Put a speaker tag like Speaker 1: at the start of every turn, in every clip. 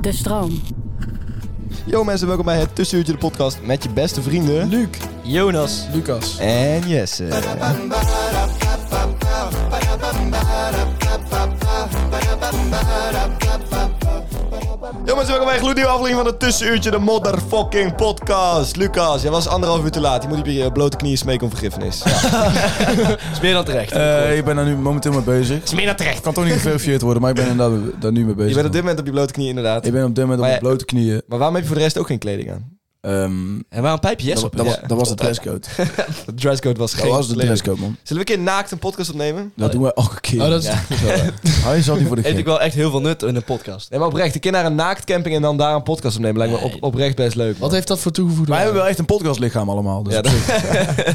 Speaker 1: De stroom.
Speaker 2: Yo mensen, welkom bij het Tussenuurtje de podcast met je beste vrienden... Luc, Jonas
Speaker 3: Lucas.
Speaker 2: en Jesse. Yo mensen, welkom bij een gloednieuwe aflevering van het Tussenuurtje de motherfucking podcast. Lucas, jij was anderhalf uur te laat. Je moet op je eh, blote knieën smeken om vergiffenis. Ja.
Speaker 4: Is meer dan terecht.
Speaker 3: eh, ik ben daar nu momenteel mee bezig.
Speaker 4: is meer dan terecht.
Speaker 3: Ik kan toch niet geverifieerd worden, maar ik ben inderdaad daar nu mee bezig.
Speaker 2: Je bent op dit moment op je blote knieën inderdaad.
Speaker 3: Ik ben op dit moment op
Speaker 2: Maar
Speaker 3: mijn
Speaker 2: ja-
Speaker 3: blote knieën.
Speaker 2: Maar waarom heb je voor de rest ook geen kleding aan?
Speaker 3: Ehm
Speaker 4: En waarom pijp je yes
Speaker 3: dat,
Speaker 4: op?
Speaker 3: dat was,
Speaker 2: ja,
Speaker 3: dat was de
Speaker 2: stop.
Speaker 3: dresscode.
Speaker 2: De dresscode was geen
Speaker 3: Dat was de
Speaker 2: kleding.
Speaker 3: dresscode, man.
Speaker 2: Zullen we een keer naakt een podcast opnemen?
Speaker 3: Dat doen wij elke keer.
Speaker 4: Oh, dat is-
Speaker 3: Hij zal niet voor de
Speaker 4: Eet ik
Speaker 3: gek.
Speaker 4: wel echt heel veel nut in een podcast.
Speaker 2: Nee, maar oprecht. Een keer naar een naaktcamping en dan daar een podcast opnemen. Lijkt me op, oprecht best leuk.
Speaker 5: Oh,
Speaker 2: man.
Speaker 4: Wat heeft dat voor toegevoegd?
Speaker 3: Wij hebben wel echt een podcastlichaam allemaal. Dus
Speaker 2: Ja, dat...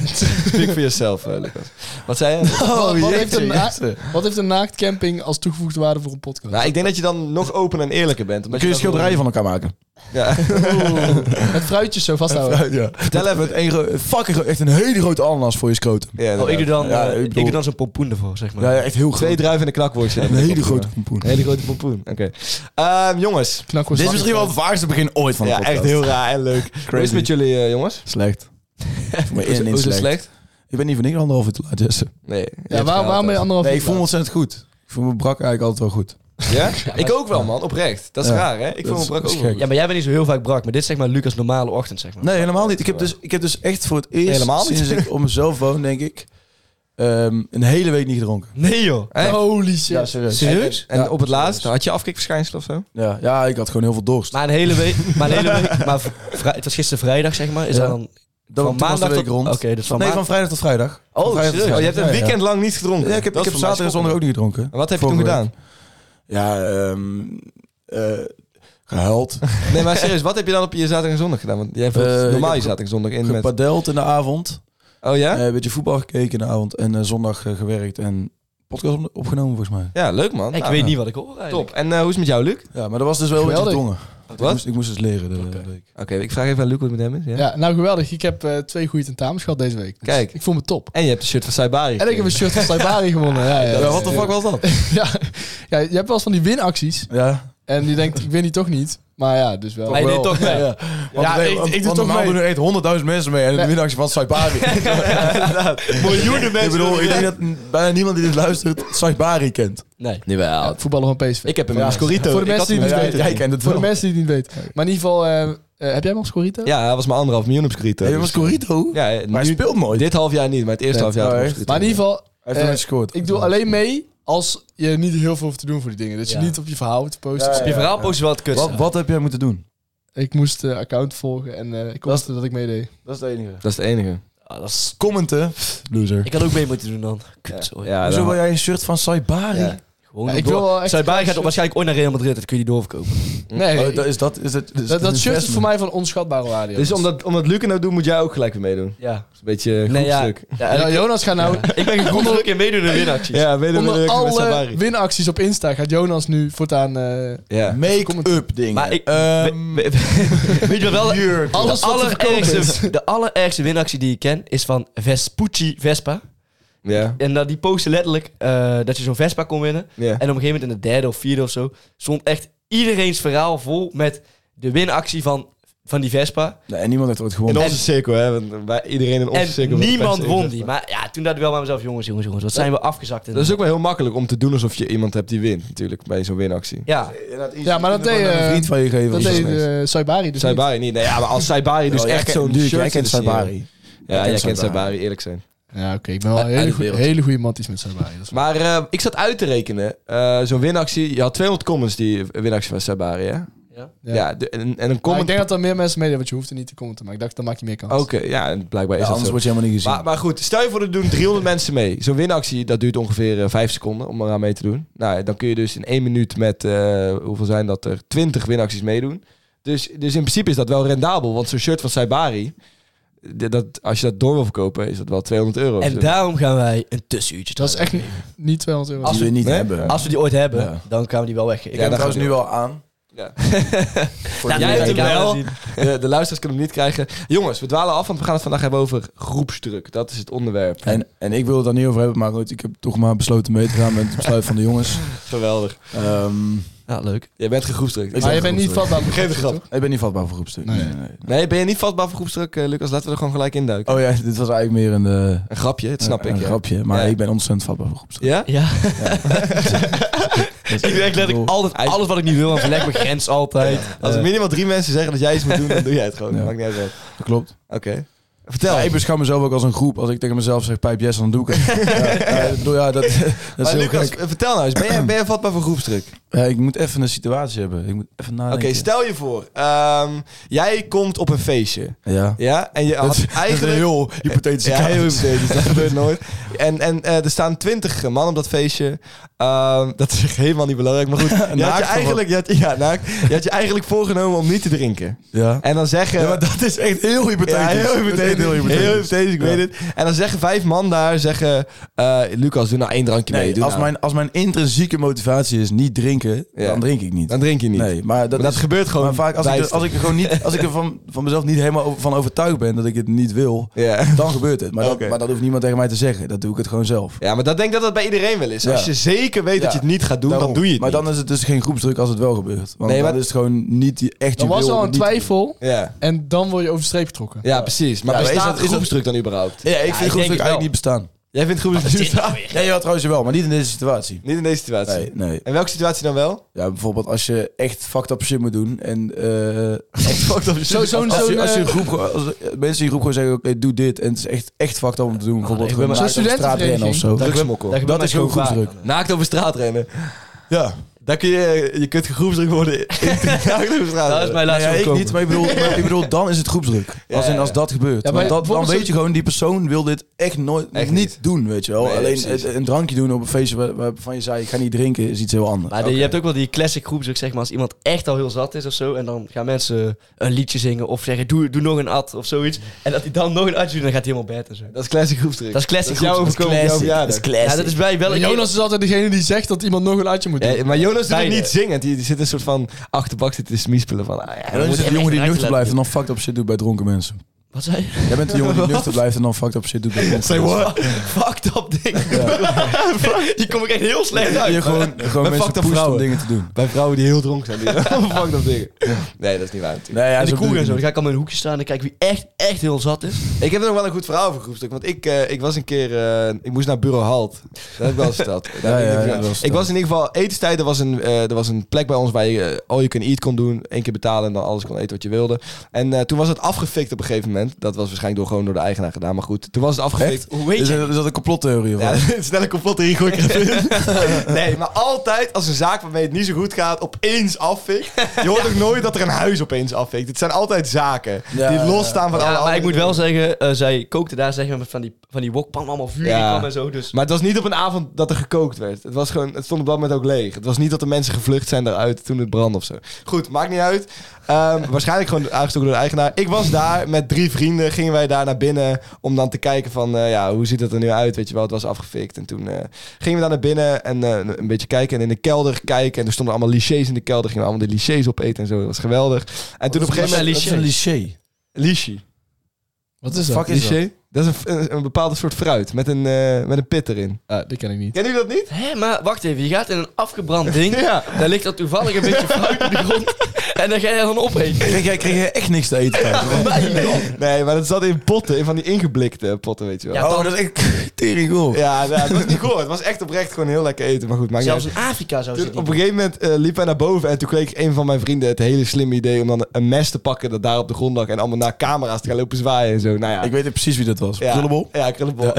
Speaker 2: Speak for yourself, eh, Lucas. Wat zei je?
Speaker 5: wat,
Speaker 3: Oh, jeetje,
Speaker 5: heeft een naakt-
Speaker 3: jeetje.
Speaker 5: Oh, wat heeft een naaktcamping als toegevoegde waarde voor een podcast?
Speaker 2: nou, ik denk dat je dan nog open en eerlijker bent.
Speaker 3: Dan
Speaker 2: omdat
Speaker 3: kun je
Speaker 2: dan
Speaker 3: schilderijen van elkaar maken.
Speaker 2: Ja.
Speaker 5: Met fruitjes zo vasthouden.
Speaker 3: Ja.
Speaker 2: Vertel even.
Speaker 3: Een gro- fucking gro- echt een hele grote ananas voor je scoot.
Speaker 2: Ja,
Speaker 4: Oh, ik doe dan,
Speaker 3: Ja,
Speaker 4: eh,
Speaker 3: ik
Speaker 4: ik
Speaker 3: bedoel-
Speaker 4: doe dan zo'n pompoen ervoor, zeg maar.
Speaker 3: Ja, ja, echt heel groot.
Speaker 2: Twee druiven in de knakworstje.
Speaker 3: Een hele grote pompoen.
Speaker 2: Een hele grote pompoen. Oké. Ehm, jongens.
Speaker 5: Knak
Speaker 3: Dit is misschien wel het vaarste begin ooit van de
Speaker 2: Ja,
Speaker 3: podcast.
Speaker 2: echt heel raar en leuk. Hoe is het met jullie, eh, jongens?
Speaker 3: Slecht. Voor mij
Speaker 2: Hoe is-
Speaker 3: in- in
Speaker 2: hoe is het
Speaker 3: slecht. Ik ben niet van niks anderhalf uur te laat, Jesse.
Speaker 2: Nee.
Speaker 5: Ja, waar, waarom ben je anderhalf
Speaker 3: Nee,
Speaker 5: uur
Speaker 3: ik voel me
Speaker 5: laat?
Speaker 3: ontzettend goed. Ik voel me brak eigenlijk altijd wel goed.
Speaker 2: Ja? Ik ook wel, man. Oprecht. Dat is
Speaker 3: Ja.
Speaker 2: raar, hè? Ik
Speaker 3: Dat
Speaker 2: voel me
Speaker 3: is-
Speaker 2: brak
Speaker 3: dat
Speaker 2: ook
Speaker 3: is
Speaker 2: wel.
Speaker 3: gek.
Speaker 4: Ja, maar jij bent niet zo heel vaak brak, maar dit is zeg maar Lucas' normale ochtend, zeg maar.
Speaker 3: Nee, helemaal niet. Ik heb dus, ik heb dus echt voor het eerst
Speaker 2: Helemaal niet.
Speaker 3: sinds ik op mezelf woon, denk ik, ehm, een hele week niet gedronken.
Speaker 4: Nee, joh.
Speaker 2: Hè?
Speaker 5: Holy shit.
Speaker 3: Ja, serieus.
Speaker 4: Serieus?
Speaker 2: En
Speaker 3: Ja,
Speaker 2: op het laatst,
Speaker 3: serieus.
Speaker 2: had je afkikverschijnsel of zo?
Speaker 3: Ja, ja, ik had gewoon heel veel dorst.
Speaker 4: Maar een hele week, maar een hele week, maar v- vrij- het was gisteren vrijdag, zeg maar. Is
Speaker 3: Ja.
Speaker 4: dat dan
Speaker 3: Dan
Speaker 4: van
Speaker 3: toen was de
Speaker 4: maandag
Speaker 3: week
Speaker 4: tot...
Speaker 3: rond.
Speaker 4: Oké, dus van
Speaker 3: nee,
Speaker 4: maandag...
Speaker 3: van vrijdag tot vrijdag. Van
Speaker 2: Oh,
Speaker 3: vrijdag tot
Speaker 2: serieus? Oh, je hebt
Speaker 3: vrijdag.
Speaker 2: een
Speaker 3: Ja, ja.
Speaker 2: weekend lang niet gedronken.
Speaker 3: Ja, ik heb,
Speaker 2: Dat is
Speaker 3: ik heb
Speaker 2: voor mij
Speaker 3: zaterdag en zondag ook
Speaker 2: schokkend.
Speaker 3: niet gedronken.
Speaker 2: En wat heb je toen
Speaker 3: Vorige
Speaker 2: gedaan?
Speaker 3: week. Ja, ehm eh, gehuild.
Speaker 2: Nee, maar serieus, wat heb je dan op je zaterdag en zondag gedaan? Want jij voelt
Speaker 3: Eh, ik
Speaker 2: normaal
Speaker 3: heb
Speaker 2: je
Speaker 3: ge-
Speaker 2: zaterdag en zondag in met...
Speaker 3: Gepadeld in de avond.
Speaker 2: Oh ja?
Speaker 3: Eh, een beetje voetbal gekeken in de avond. En eh, zondag eh, gewerkt en podcast op- opgenomen volgens mij.
Speaker 2: Ja, leuk man.
Speaker 4: Ik
Speaker 2: Nou,
Speaker 4: weet niet wat ik hoor
Speaker 2: Top.
Speaker 4: eigenlijk.
Speaker 2: En eh, hoe is het met jou, Luc?
Speaker 3: Ja, maar dat was dus wel een beetje
Speaker 5: Geweldig.
Speaker 3: gedwongen. Ik
Speaker 2: Wat?
Speaker 3: moest, ik moest dus leren de de week.
Speaker 2: Oké, ik vraag even aan Luc hoe het met hem is. Ja?
Speaker 5: Ja, nou geweldig. Ik heb eh, twee goede tentamens gehad deze week. Dus
Speaker 2: Kijk.
Speaker 5: Ik voel me top.
Speaker 2: En je hebt de shirt van Saibari.
Speaker 5: En ik heb een shirt van Saibari gewonnen. Ja, ja, ja.
Speaker 3: Ja, wat de fuck was dat?
Speaker 5: Ja, ja, je hebt wel eens van die winacties.
Speaker 3: Ja,
Speaker 5: En je denkt, ik win die toch niet. Maar ja, dus wel.
Speaker 4: Hij
Speaker 3: wel.
Speaker 4: deed toch mee.
Speaker 3: Ja, Want,
Speaker 4: Ja,
Speaker 3: nee,
Speaker 4: ik-
Speaker 3: want-
Speaker 4: ik doe
Speaker 3: want
Speaker 4: toch
Speaker 3: normaal
Speaker 4: mee.
Speaker 3: doen er echt honderdduizend mensen mee. En de
Speaker 5: Nee.
Speaker 3: winactie van Saibari.
Speaker 4: Miljoenen
Speaker 3: ik bedoel, ik denk dat n- bijna niemand die dit luistert Saibari kent.
Speaker 4: Nee.
Speaker 2: Nee, wel.
Speaker 5: Ja, voetballer van PSV.
Speaker 2: Ik heb hem
Speaker 3: Ja,
Speaker 2: in Scorito.
Speaker 5: voor de mensen die het
Speaker 3: Ja,
Speaker 5: niet weten.
Speaker 3: jij kent het
Speaker 5: Voor
Speaker 3: wel.
Speaker 5: de mensen die het niet weten. Maar in ieder geval, eh, eh, heb jij hem op Scorita?
Speaker 2: Ja, hij was maar anderhalf miljoen op Scorito.
Speaker 3: Hij was Corito.
Speaker 2: Ja, eh,
Speaker 3: Maar hij
Speaker 2: nu-
Speaker 3: speelt nooit.
Speaker 2: dit half jaar niet, maar het eerste
Speaker 3: Nee,
Speaker 2: half jaar
Speaker 3: oh,
Speaker 2: had hij op
Speaker 3: echt?
Speaker 2: Scorito.
Speaker 5: Maar in ieder geval,
Speaker 3: Hij heeft er
Speaker 5: Eh,
Speaker 3: nooit gescoord.
Speaker 5: ik doe alleen mee als je niet heel veel hoeft te doen voor die dingen. Dat je
Speaker 4: Ja.
Speaker 5: niet op je verhaal hoeft te posten.
Speaker 3: Ja, ja,
Speaker 4: Je verhaal post wel het kut.
Speaker 3: Wat, wat heb jij moeten doen?
Speaker 5: Ik moest de account volgen en eh, ik kostte dat ik meedeed.
Speaker 3: Dat is het enige.
Speaker 2: Dat is het enige.
Speaker 4: Ah, dat is-
Speaker 3: Commenten. Loser.
Speaker 4: Ik had ook mee moeten doen dan. Kut, sorry.
Speaker 2: Ja,
Speaker 3: Hoezo
Speaker 2: dan-
Speaker 3: wil jij een shirt van Saibari? Oh,
Speaker 2: Ja.
Speaker 4: Gewoon
Speaker 5: Ja,
Speaker 4: ik
Speaker 5: ik wil wel echt
Speaker 4: Saibari
Speaker 5: een
Speaker 4: gaat
Speaker 5: shirt.
Speaker 4: waarschijnlijk ooit naar Real Madrid. Dat kun je die doorverkopen.
Speaker 5: Nee,
Speaker 3: Oh, dat, is dat, is dat,
Speaker 5: dat, dat shirt is voor mij van onschatbare waarde.
Speaker 2: Dus
Speaker 5: jongens.
Speaker 2: omdat, omdat Luc het nou doet, moet jij ook gelijk weer meedoen. Dat
Speaker 4: Ja.
Speaker 2: is een beetje
Speaker 4: Nee, ja.
Speaker 2: groepstuk.
Speaker 4: ja
Speaker 5: Ja,
Speaker 4: en
Speaker 5: Jonas gaat nou
Speaker 4: ik, ik ben gegoogeld om een keer meedoen in de winacties.
Speaker 2: Ja, weet je wel,
Speaker 5: onder
Speaker 2: Luc, met Saibari.
Speaker 5: alle winacties op Insta gaat Jonas nu voortaan eh
Speaker 2: Ja.
Speaker 3: Make-up dingen.
Speaker 4: Maar ik-
Speaker 3: Ehm,
Speaker 4: We- we- Weet je wel? De,
Speaker 5: alles wat te verkopen is.
Speaker 4: allerergste, de allerergste winactie die ik ken is van Vespucci Vespa.
Speaker 2: Ja.
Speaker 4: En dat die posten letterlijk eh, dat je zo'n Vespa kon winnen.
Speaker 2: Ja.
Speaker 4: En op een gegeven moment in de derde of vierde of zo stond echt iedereen's verhaal vol met de winactie van van die Vespa.
Speaker 3: Nee, en niemand heeft ooit
Speaker 2: In
Speaker 3: gewonnen.
Speaker 2: onze cirkel, hè. want Wij, iedereen in onze cirkel.
Speaker 4: En
Speaker 2: wordt
Speaker 4: niemand
Speaker 2: best
Speaker 4: won
Speaker 2: ingezet.
Speaker 4: die. Maar ja, toen dacht ik wel bij mezelf, jongens, jongens, jongens, wat zijn we afgezakt. In
Speaker 2: Dat is ook wel heel makkelijk om te doen alsof je iemand hebt die wint, natuurlijk, bij zo'n winactie.
Speaker 4: Ja,
Speaker 5: Ja, maar dat deed, eh,
Speaker 3: Een vriend van je geven.
Speaker 5: dat
Speaker 3: was
Speaker 5: deed
Speaker 3: niks.
Speaker 5: eh, Saibari dus niet.
Speaker 2: Saibari niet. Nee, ja, maar als Saibari dus
Speaker 3: Wel, Oh, jij
Speaker 2: echt
Speaker 3: kent-
Speaker 2: zo'n
Speaker 3: natuurlijk,
Speaker 2: shirt
Speaker 3: Jij kent
Speaker 2: in de serie-
Speaker 3: Saibari.
Speaker 2: Ja, jij kent
Speaker 3: Saibari.
Speaker 2: Saibari, eerlijk zijn.
Speaker 5: Ja, oké. ik ben wel een
Speaker 2: Uit
Speaker 5: hele,
Speaker 2: de
Speaker 5: goe-
Speaker 2: wereld.
Speaker 5: hele goede matties met Saibari. Dat is waar.
Speaker 2: Maar eh, ik zat uit te rekenen. Eh, zo'n winactie. Je had 200 comments die winactie van Sabari, hè?
Speaker 4: Ja.
Speaker 2: Ja,
Speaker 5: Ja.
Speaker 2: de- en, en een
Speaker 5: Maar ik
Speaker 2: comment...
Speaker 5: denk dat er meer mensen meededen, want je hoeft er niet te commenten. Maar ik dacht, dan maak je meer kans.
Speaker 2: Oké, ja, en blijkbaar is
Speaker 3: Ja,
Speaker 2: dat
Speaker 3: anders
Speaker 2: zo.
Speaker 3: word je helemaal niet gezien.
Speaker 2: Maar, maar goed, stel je voor er doen 300 mensen mee. Zo'n winactie, dat duurt ongeveer eh, 5 seconden om eraan mee te doen. Nou, dan kun je dus in 1 minuut met, eh, hoeveel zijn dat er, 20 winacties meedoen. Dus, dus in principe is dat wel rendabel, want zo'n shirt van Saibari, d- dat, als je dat door wil verkopen, is dat wel 200 euro.
Speaker 4: en
Speaker 2: Zo.
Speaker 4: daarom gaan wij een tussenuurtje
Speaker 5: Dat is
Speaker 4: draaien.
Speaker 5: echt niet, niet 200 euro.
Speaker 3: als we niet
Speaker 2: Nee?
Speaker 3: hebben.
Speaker 4: Als we die ooit hebben,
Speaker 3: Ja.
Speaker 4: dan gaan we die wel weggeven.
Speaker 3: ik
Speaker 2: Ja,
Speaker 3: heb
Speaker 2: dat
Speaker 3: hem
Speaker 2: gaat
Speaker 3: trouwens nu wel aan.
Speaker 2: Ja.
Speaker 3: Voor
Speaker 4: Nou,
Speaker 3: de-
Speaker 4: jij hebt hem wel.
Speaker 2: De, de luisteraars kunnen hem niet krijgen. Jongens, we dwalen af, want we gaan het vandaag hebben over groepsdruk. Dat is het onderwerp.
Speaker 3: En, en ik wil het daar niet over hebben, maar goed, ik heb toch maar besloten mee te gaan met het besluit van de jongens.
Speaker 2: Geweldig.
Speaker 3: Ehm,
Speaker 4: Ja, leuk.
Speaker 2: Jij bent gegroepsdrukt.
Speaker 3: Ik-
Speaker 5: maar je
Speaker 3: zeg
Speaker 5: bent
Speaker 3: het
Speaker 5: niet
Speaker 3: goed,
Speaker 5: vatbaar voor
Speaker 2: Geen
Speaker 5: groepsdruk,
Speaker 2: grap.
Speaker 5: toch?
Speaker 3: ik ben niet vatbaar voor groepstuk.
Speaker 5: Nee.
Speaker 2: Nee, ben je niet vatbaar voor groepsdruk, eh, Lucas? Laten we er gewoon gelijk induiken.
Speaker 3: Oh ja, dit was eigenlijk meer een, eh,
Speaker 2: Een grapje, dat snap
Speaker 3: een,
Speaker 2: ik.
Speaker 3: een
Speaker 2: ja.
Speaker 3: grapje, maar
Speaker 2: Ja.
Speaker 3: ik ben ontzettend vatbaar voor groepstuk.
Speaker 2: Ja?
Speaker 4: Ja.
Speaker 3: Dus-
Speaker 4: Ik denk dat ik
Speaker 3: bedoel,
Speaker 4: altijd, alles wat ik niet wil, dan verleg mijn grens altijd.
Speaker 2: Als er
Speaker 4: Eh,
Speaker 2: minimaal drie mensen zeggen dat jij iets moet doen, dan doe jij het gewoon.
Speaker 3: Ja.
Speaker 2: Maakt niet uit. wat. Oké.
Speaker 3: dat klopt.
Speaker 2: Vertel.
Speaker 3: Ja, ik beschouw mezelf ook als een groep. Als ik tegen mezelf zeg pijp yes, dan doe ik het. ja, ja, ik bedoel, ja, dat, dat is
Speaker 2: maar
Speaker 3: heel
Speaker 2: Lucas,
Speaker 3: gek. Ah,
Speaker 2: eh, vertel nou eens. Ben jij, ben jij vatbaar voor groepsdruk?
Speaker 3: Ja, ik moet even een situatie hebben. Ik moet even
Speaker 2: Oké,
Speaker 3: nadenken.
Speaker 2: stel je voor. ehm, jij komt op een feestje.
Speaker 3: Ja.
Speaker 2: Ja? En je had eigenlijk...
Speaker 3: heel hypothetisch.
Speaker 2: Ja, heel hypothetisch. Dat gebeurt nooit. En, en eh, er staan twintig man op dat feestje. Ehm, dat is helemaal niet belangrijk, maar goed. Je had je,
Speaker 3: Naakt of
Speaker 2: eigenlijk, je, had, ja, naakt. je had je eigenlijk voorgenomen om niet te drinken.
Speaker 3: Ja.
Speaker 2: En dan zeggen...
Speaker 3: Ja, maar dat is echt heel hypothetisch.
Speaker 2: Ja, heel hypothetisch. Heel hypothetisch, ik
Speaker 3: Ja.
Speaker 2: weet het. En dan zeggen vijf man daar, zeggen... eh, Lucas, doe nou één drankje mee.
Speaker 3: Nee,
Speaker 2: Doe
Speaker 3: als,
Speaker 2: nou.
Speaker 3: mijn, als mijn intrinsieke motivatie is niet drinken,
Speaker 2: Ja.
Speaker 3: dan drink ik niet.
Speaker 2: Dan drink je niet.
Speaker 3: Nee, maar dat,
Speaker 2: Maar dat
Speaker 3: is-
Speaker 2: gebeurt gewoon
Speaker 3: Maar vaak als ik, er-
Speaker 2: bijster.
Speaker 3: als ik er gewoon niet, als ik er van, van mezelf niet helemaal over- van overtuigd ben dat ik het niet wil,
Speaker 2: Ja.
Speaker 3: dan gebeurt het. Maar,
Speaker 2: Oké.
Speaker 3: dat, maar dat hoeft niemand tegen mij te zeggen. Dat doe ik het gewoon zelf.
Speaker 2: ja, maar dat denk ik dat dat bij iedereen wel is.
Speaker 3: Ja.
Speaker 2: Als je zeker weet dat je
Speaker 3: Ja.
Speaker 2: het niet gaat doen,
Speaker 3: Daarom.
Speaker 2: dan doe je het
Speaker 3: Maar
Speaker 2: niet.
Speaker 3: dan is het dus geen groepsdruk als het wel gebeurt. Want
Speaker 2: Nee, maar-
Speaker 3: dan is het gewoon niet die echt
Speaker 5: Dan
Speaker 3: je
Speaker 5: was
Speaker 3: wil
Speaker 5: er al
Speaker 3: om
Speaker 5: een
Speaker 3: niet te
Speaker 5: twijfel
Speaker 2: Ja.
Speaker 5: en dan word je over de streep getrokken.
Speaker 2: Ja, precies. Maar
Speaker 3: Ja, maar is
Speaker 2: bestaat
Speaker 3: dat- is dat-
Speaker 2: groepsdruk dan überhaupt?
Speaker 3: doen. Ja, ik
Speaker 4: ik
Speaker 3: vind
Speaker 4: denk
Speaker 3: groepsdruk
Speaker 4: het wel.
Speaker 3: eigenlijk niet bestaan.
Speaker 2: Jij vindt groepsdruk
Speaker 4: nou
Speaker 2: bestaan?
Speaker 3: Nee, ja, trouwens wel, maar niet in deze situatie.
Speaker 2: Niet in deze situatie.
Speaker 3: Nee, nee.
Speaker 2: En welke situatie dan wel?
Speaker 3: Ja, bijvoorbeeld als je echt fucked up shit moet doen en eh,
Speaker 2: Fuck dat
Speaker 5: Zo, zo'n,
Speaker 3: als, je,
Speaker 5: zo'n,
Speaker 3: als je
Speaker 5: eh,
Speaker 3: een groep, gewoon- als mensen in je groep gewoon zeggen, oké, doe dit. En het is echt, echt fucked up om te doen. Bijvoorbeeld
Speaker 4: ik ben
Speaker 3: gewoon
Speaker 4: maar-
Speaker 3: naakt
Speaker 5: Zo'n
Speaker 3: op de straat rennen of zo.
Speaker 2: Dat drugsmokkel.
Speaker 3: Dat,
Speaker 4: gebeurt
Speaker 3: is
Speaker 4: mij
Speaker 3: gewoon
Speaker 4: gewoon
Speaker 3: groepsdruk.
Speaker 2: Naakt over straat rennen.
Speaker 3: Ja.
Speaker 2: Dan kun je, je kunt groepsdruk worden. in- naakt over straat
Speaker 4: Dat is
Speaker 2: rennen.
Speaker 4: mijn
Speaker 3: Nou ja,
Speaker 4: laatste
Speaker 3: ik
Speaker 4: opkomen.
Speaker 3: niet, maar ik bedoel, maar ik bedoel dan is het groepsdruk.
Speaker 2: Ja,
Speaker 3: als, in,
Speaker 2: ja,
Speaker 3: als
Speaker 2: ja.
Speaker 3: dat gebeurt.
Speaker 5: Ja, maar
Speaker 3: Want dat, dan
Speaker 5: bijvoorbeeld
Speaker 3: weet
Speaker 5: zo-
Speaker 3: je gewoon, die persoon wil dit echt nooit
Speaker 2: Echt
Speaker 3: niet
Speaker 2: niet.
Speaker 3: doen, weet je wel.
Speaker 2: Nee,
Speaker 3: Alleen
Speaker 2: precies.
Speaker 3: het- een drankje doen op een feestje waar- waarvan je zei, ik ga niet drinken, is iets heel anders.
Speaker 4: Maar de- je hebt ook wel die classic groepsdruk, zeg maar, als iemand echt al heel zat is of zo. En dan gaan mensen een liedje zingen of zeggen, doe, doe nog een ad of zoiets. En dat hij dan nog een adje doet, dan gaat hij helemaal bed en zo.
Speaker 2: Dat is classic groepsdruk.
Speaker 4: Dat is classic
Speaker 2: Dat is jouw
Speaker 4: groepsdruk.
Speaker 2: overkomen op jouw verjaardag.
Speaker 4: Ja, dat is bij wel...
Speaker 5: eh, Jonas is altijd degene die zegt dat iemand nog een uitje moet doen.
Speaker 2: Ja, maar Jonas doet het
Speaker 4: Beide.
Speaker 2: niet zingend. Die, die zit een soort van achterbak zitten te smiespelen van... Ah,
Speaker 3: En
Speaker 2: ja,
Speaker 3: dan is
Speaker 4: moet
Speaker 3: het
Speaker 4: hem
Speaker 3: de jongen die
Speaker 4: echt
Speaker 3: nuchter
Speaker 4: laten
Speaker 3: blijft en dan fucked up shit doet bij dronken mensen.
Speaker 4: Wat zei je?
Speaker 3: Jij bent de jongen die nuchter blijft en dan fucked up shit doet bij dronken mensen.
Speaker 4: Fucked up ding. Die kom ik echt heel slecht uit.
Speaker 3: Je gewoon, gewoon mensen
Speaker 2: fucked up
Speaker 3: pusht om
Speaker 2: vrouwen.
Speaker 3: dingen te doen.
Speaker 2: bij vrouwen die heel dronken zijn. Die fuck dat ding. Nee, dat is niet waar natuurlijk.
Speaker 3: Nee, ja,
Speaker 4: En de
Speaker 3: zo
Speaker 4: kroeg
Speaker 3: bedoel
Speaker 4: en
Speaker 3: ik
Speaker 4: zo. Dan
Speaker 3: niet.
Speaker 4: ga ik allemaal in een hoekje staan en kijk wie echt, echt heel zat is.
Speaker 2: Ik heb nog wel een goed verhaal over groepsdruk. Want ik, eh, ik was een keer... eh, ik moest naar Bureau Halt. Dat heb ik wel eens verteld. Daar
Speaker 3: Ja,
Speaker 2: heb ik
Speaker 3: ja,
Speaker 2: niet-
Speaker 3: ja, dat was
Speaker 2: ik was in ieder geval... Etenstijd, er was een, eh, er was een plek bij ons waar je eh, all you can eat kon doen. Eén keer betalen en dan alles kon eten wat je wilde. En eh, toen was het afgefikt op een gegeven moment. Dat was waarschijnlijk door, gewoon door de eigenaar gedaan. Maar goed, toen was het afgefikt.
Speaker 3: Echt?
Speaker 4: Dus
Speaker 3: Is dat, is dat een complottheorie of
Speaker 2: Ja,
Speaker 3: wat?
Speaker 2: het is net een complottheorie, gooi ik er even in. Nee, maar altijd als een zaak waarmee het niet zo goed gaat, opeens afvikt. Je hoort ook nooit dat er een huis opeens afvikt. Het zijn altijd zaken
Speaker 3: Ja,
Speaker 2: die losstaan van alle
Speaker 4: Ja, maar
Speaker 2: andere
Speaker 4: ik moet wel
Speaker 2: dingen.
Speaker 4: zeggen, eh, zij kookte daar zeg maar, met van die, van die wokpan allemaal vuur in
Speaker 2: Ja.
Speaker 4: kwam en zo. Dus
Speaker 2: Maar het was niet op een avond dat er gekookt werd. Het, was gewoon, het stond op dat moment ook leeg. Het was niet dat de mensen gevlucht zijn daaruit toen het brandde of zo. Goed, maakt niet uit. Ehm, waarschijnlijk gewoon aangestoken door de eigenaar. Ik was daar met drie vrienden. Gingen wij daar naar binnen om dan te kijken van... eh, ja, hoe ziet het er nu uit? Weet je wel, het was afgefikt. En toen eh, gingen we daar naar binnen en eh, een beetje kijken. En in de kelder kijken. En er stonden allemaal lichés in de kelder. Gingen we allemaal de lichés opeten en zo. Dat was geweldig. En toen op een
Speaker 4: is
Speaker 2: gegeven
Speaker 4: een
Speaker 2: moment...
Speaker 3: Dat is een lycée.
Speaker 2: Lichie.
Speaker 5: Wat is
Speaker 3: Fuck is dat?
Speaker 2: Liché? Dat is een, een, een bepaalde soort fruit met een, eh, met een pit erin.
Speaker 5: Ah, die ken ik niet.
Speaker 2: Kennen jullie dat niet?
Speaker 4: Hé, maar wacht even. Je gaat in een afgebrand ding.
Speaker 2: Ja.
Speaker 4: Daar ligt dan toevallig een beetje fruit op de grond. En dan ga je dan opeten.
Speaker 3: Kreeg jij, kreeg jij echt niks te eten?
Speaker 2: Nee, maar dat zat in potten, in van die ingeblikte potten, weet je wel.
Speaker 4: Ja,
Speaker 2: Ja,
Speaker 3: oh, dat is echt tering goed.
Speaker 2: nou, dat was niet goed. Het was echt oprecht gewoon heel lekker eten. Maar goed, maakt niet
Speaker 4: Zelfs
Speaker 2: uit.
Speaker 4: in Afrika zou ze
Speaker 2: Toen, op
Speaker 4: niet
Speaker 2: een gegeven moment eh, liep hij naar boven en toen kreeg ik een van mijn vrienden het hele slimme idee om dan een mes te pakken dat daar op de grond lag en allemaal naar camera's te gaan lopen zwaaien en zo. Nou ja,
Speaker 3: Ik weet precies wie dat was.
Speaker 2: ja,
Speaker 3: Krullenbol?
Speaker 2: Ja, krullenbol.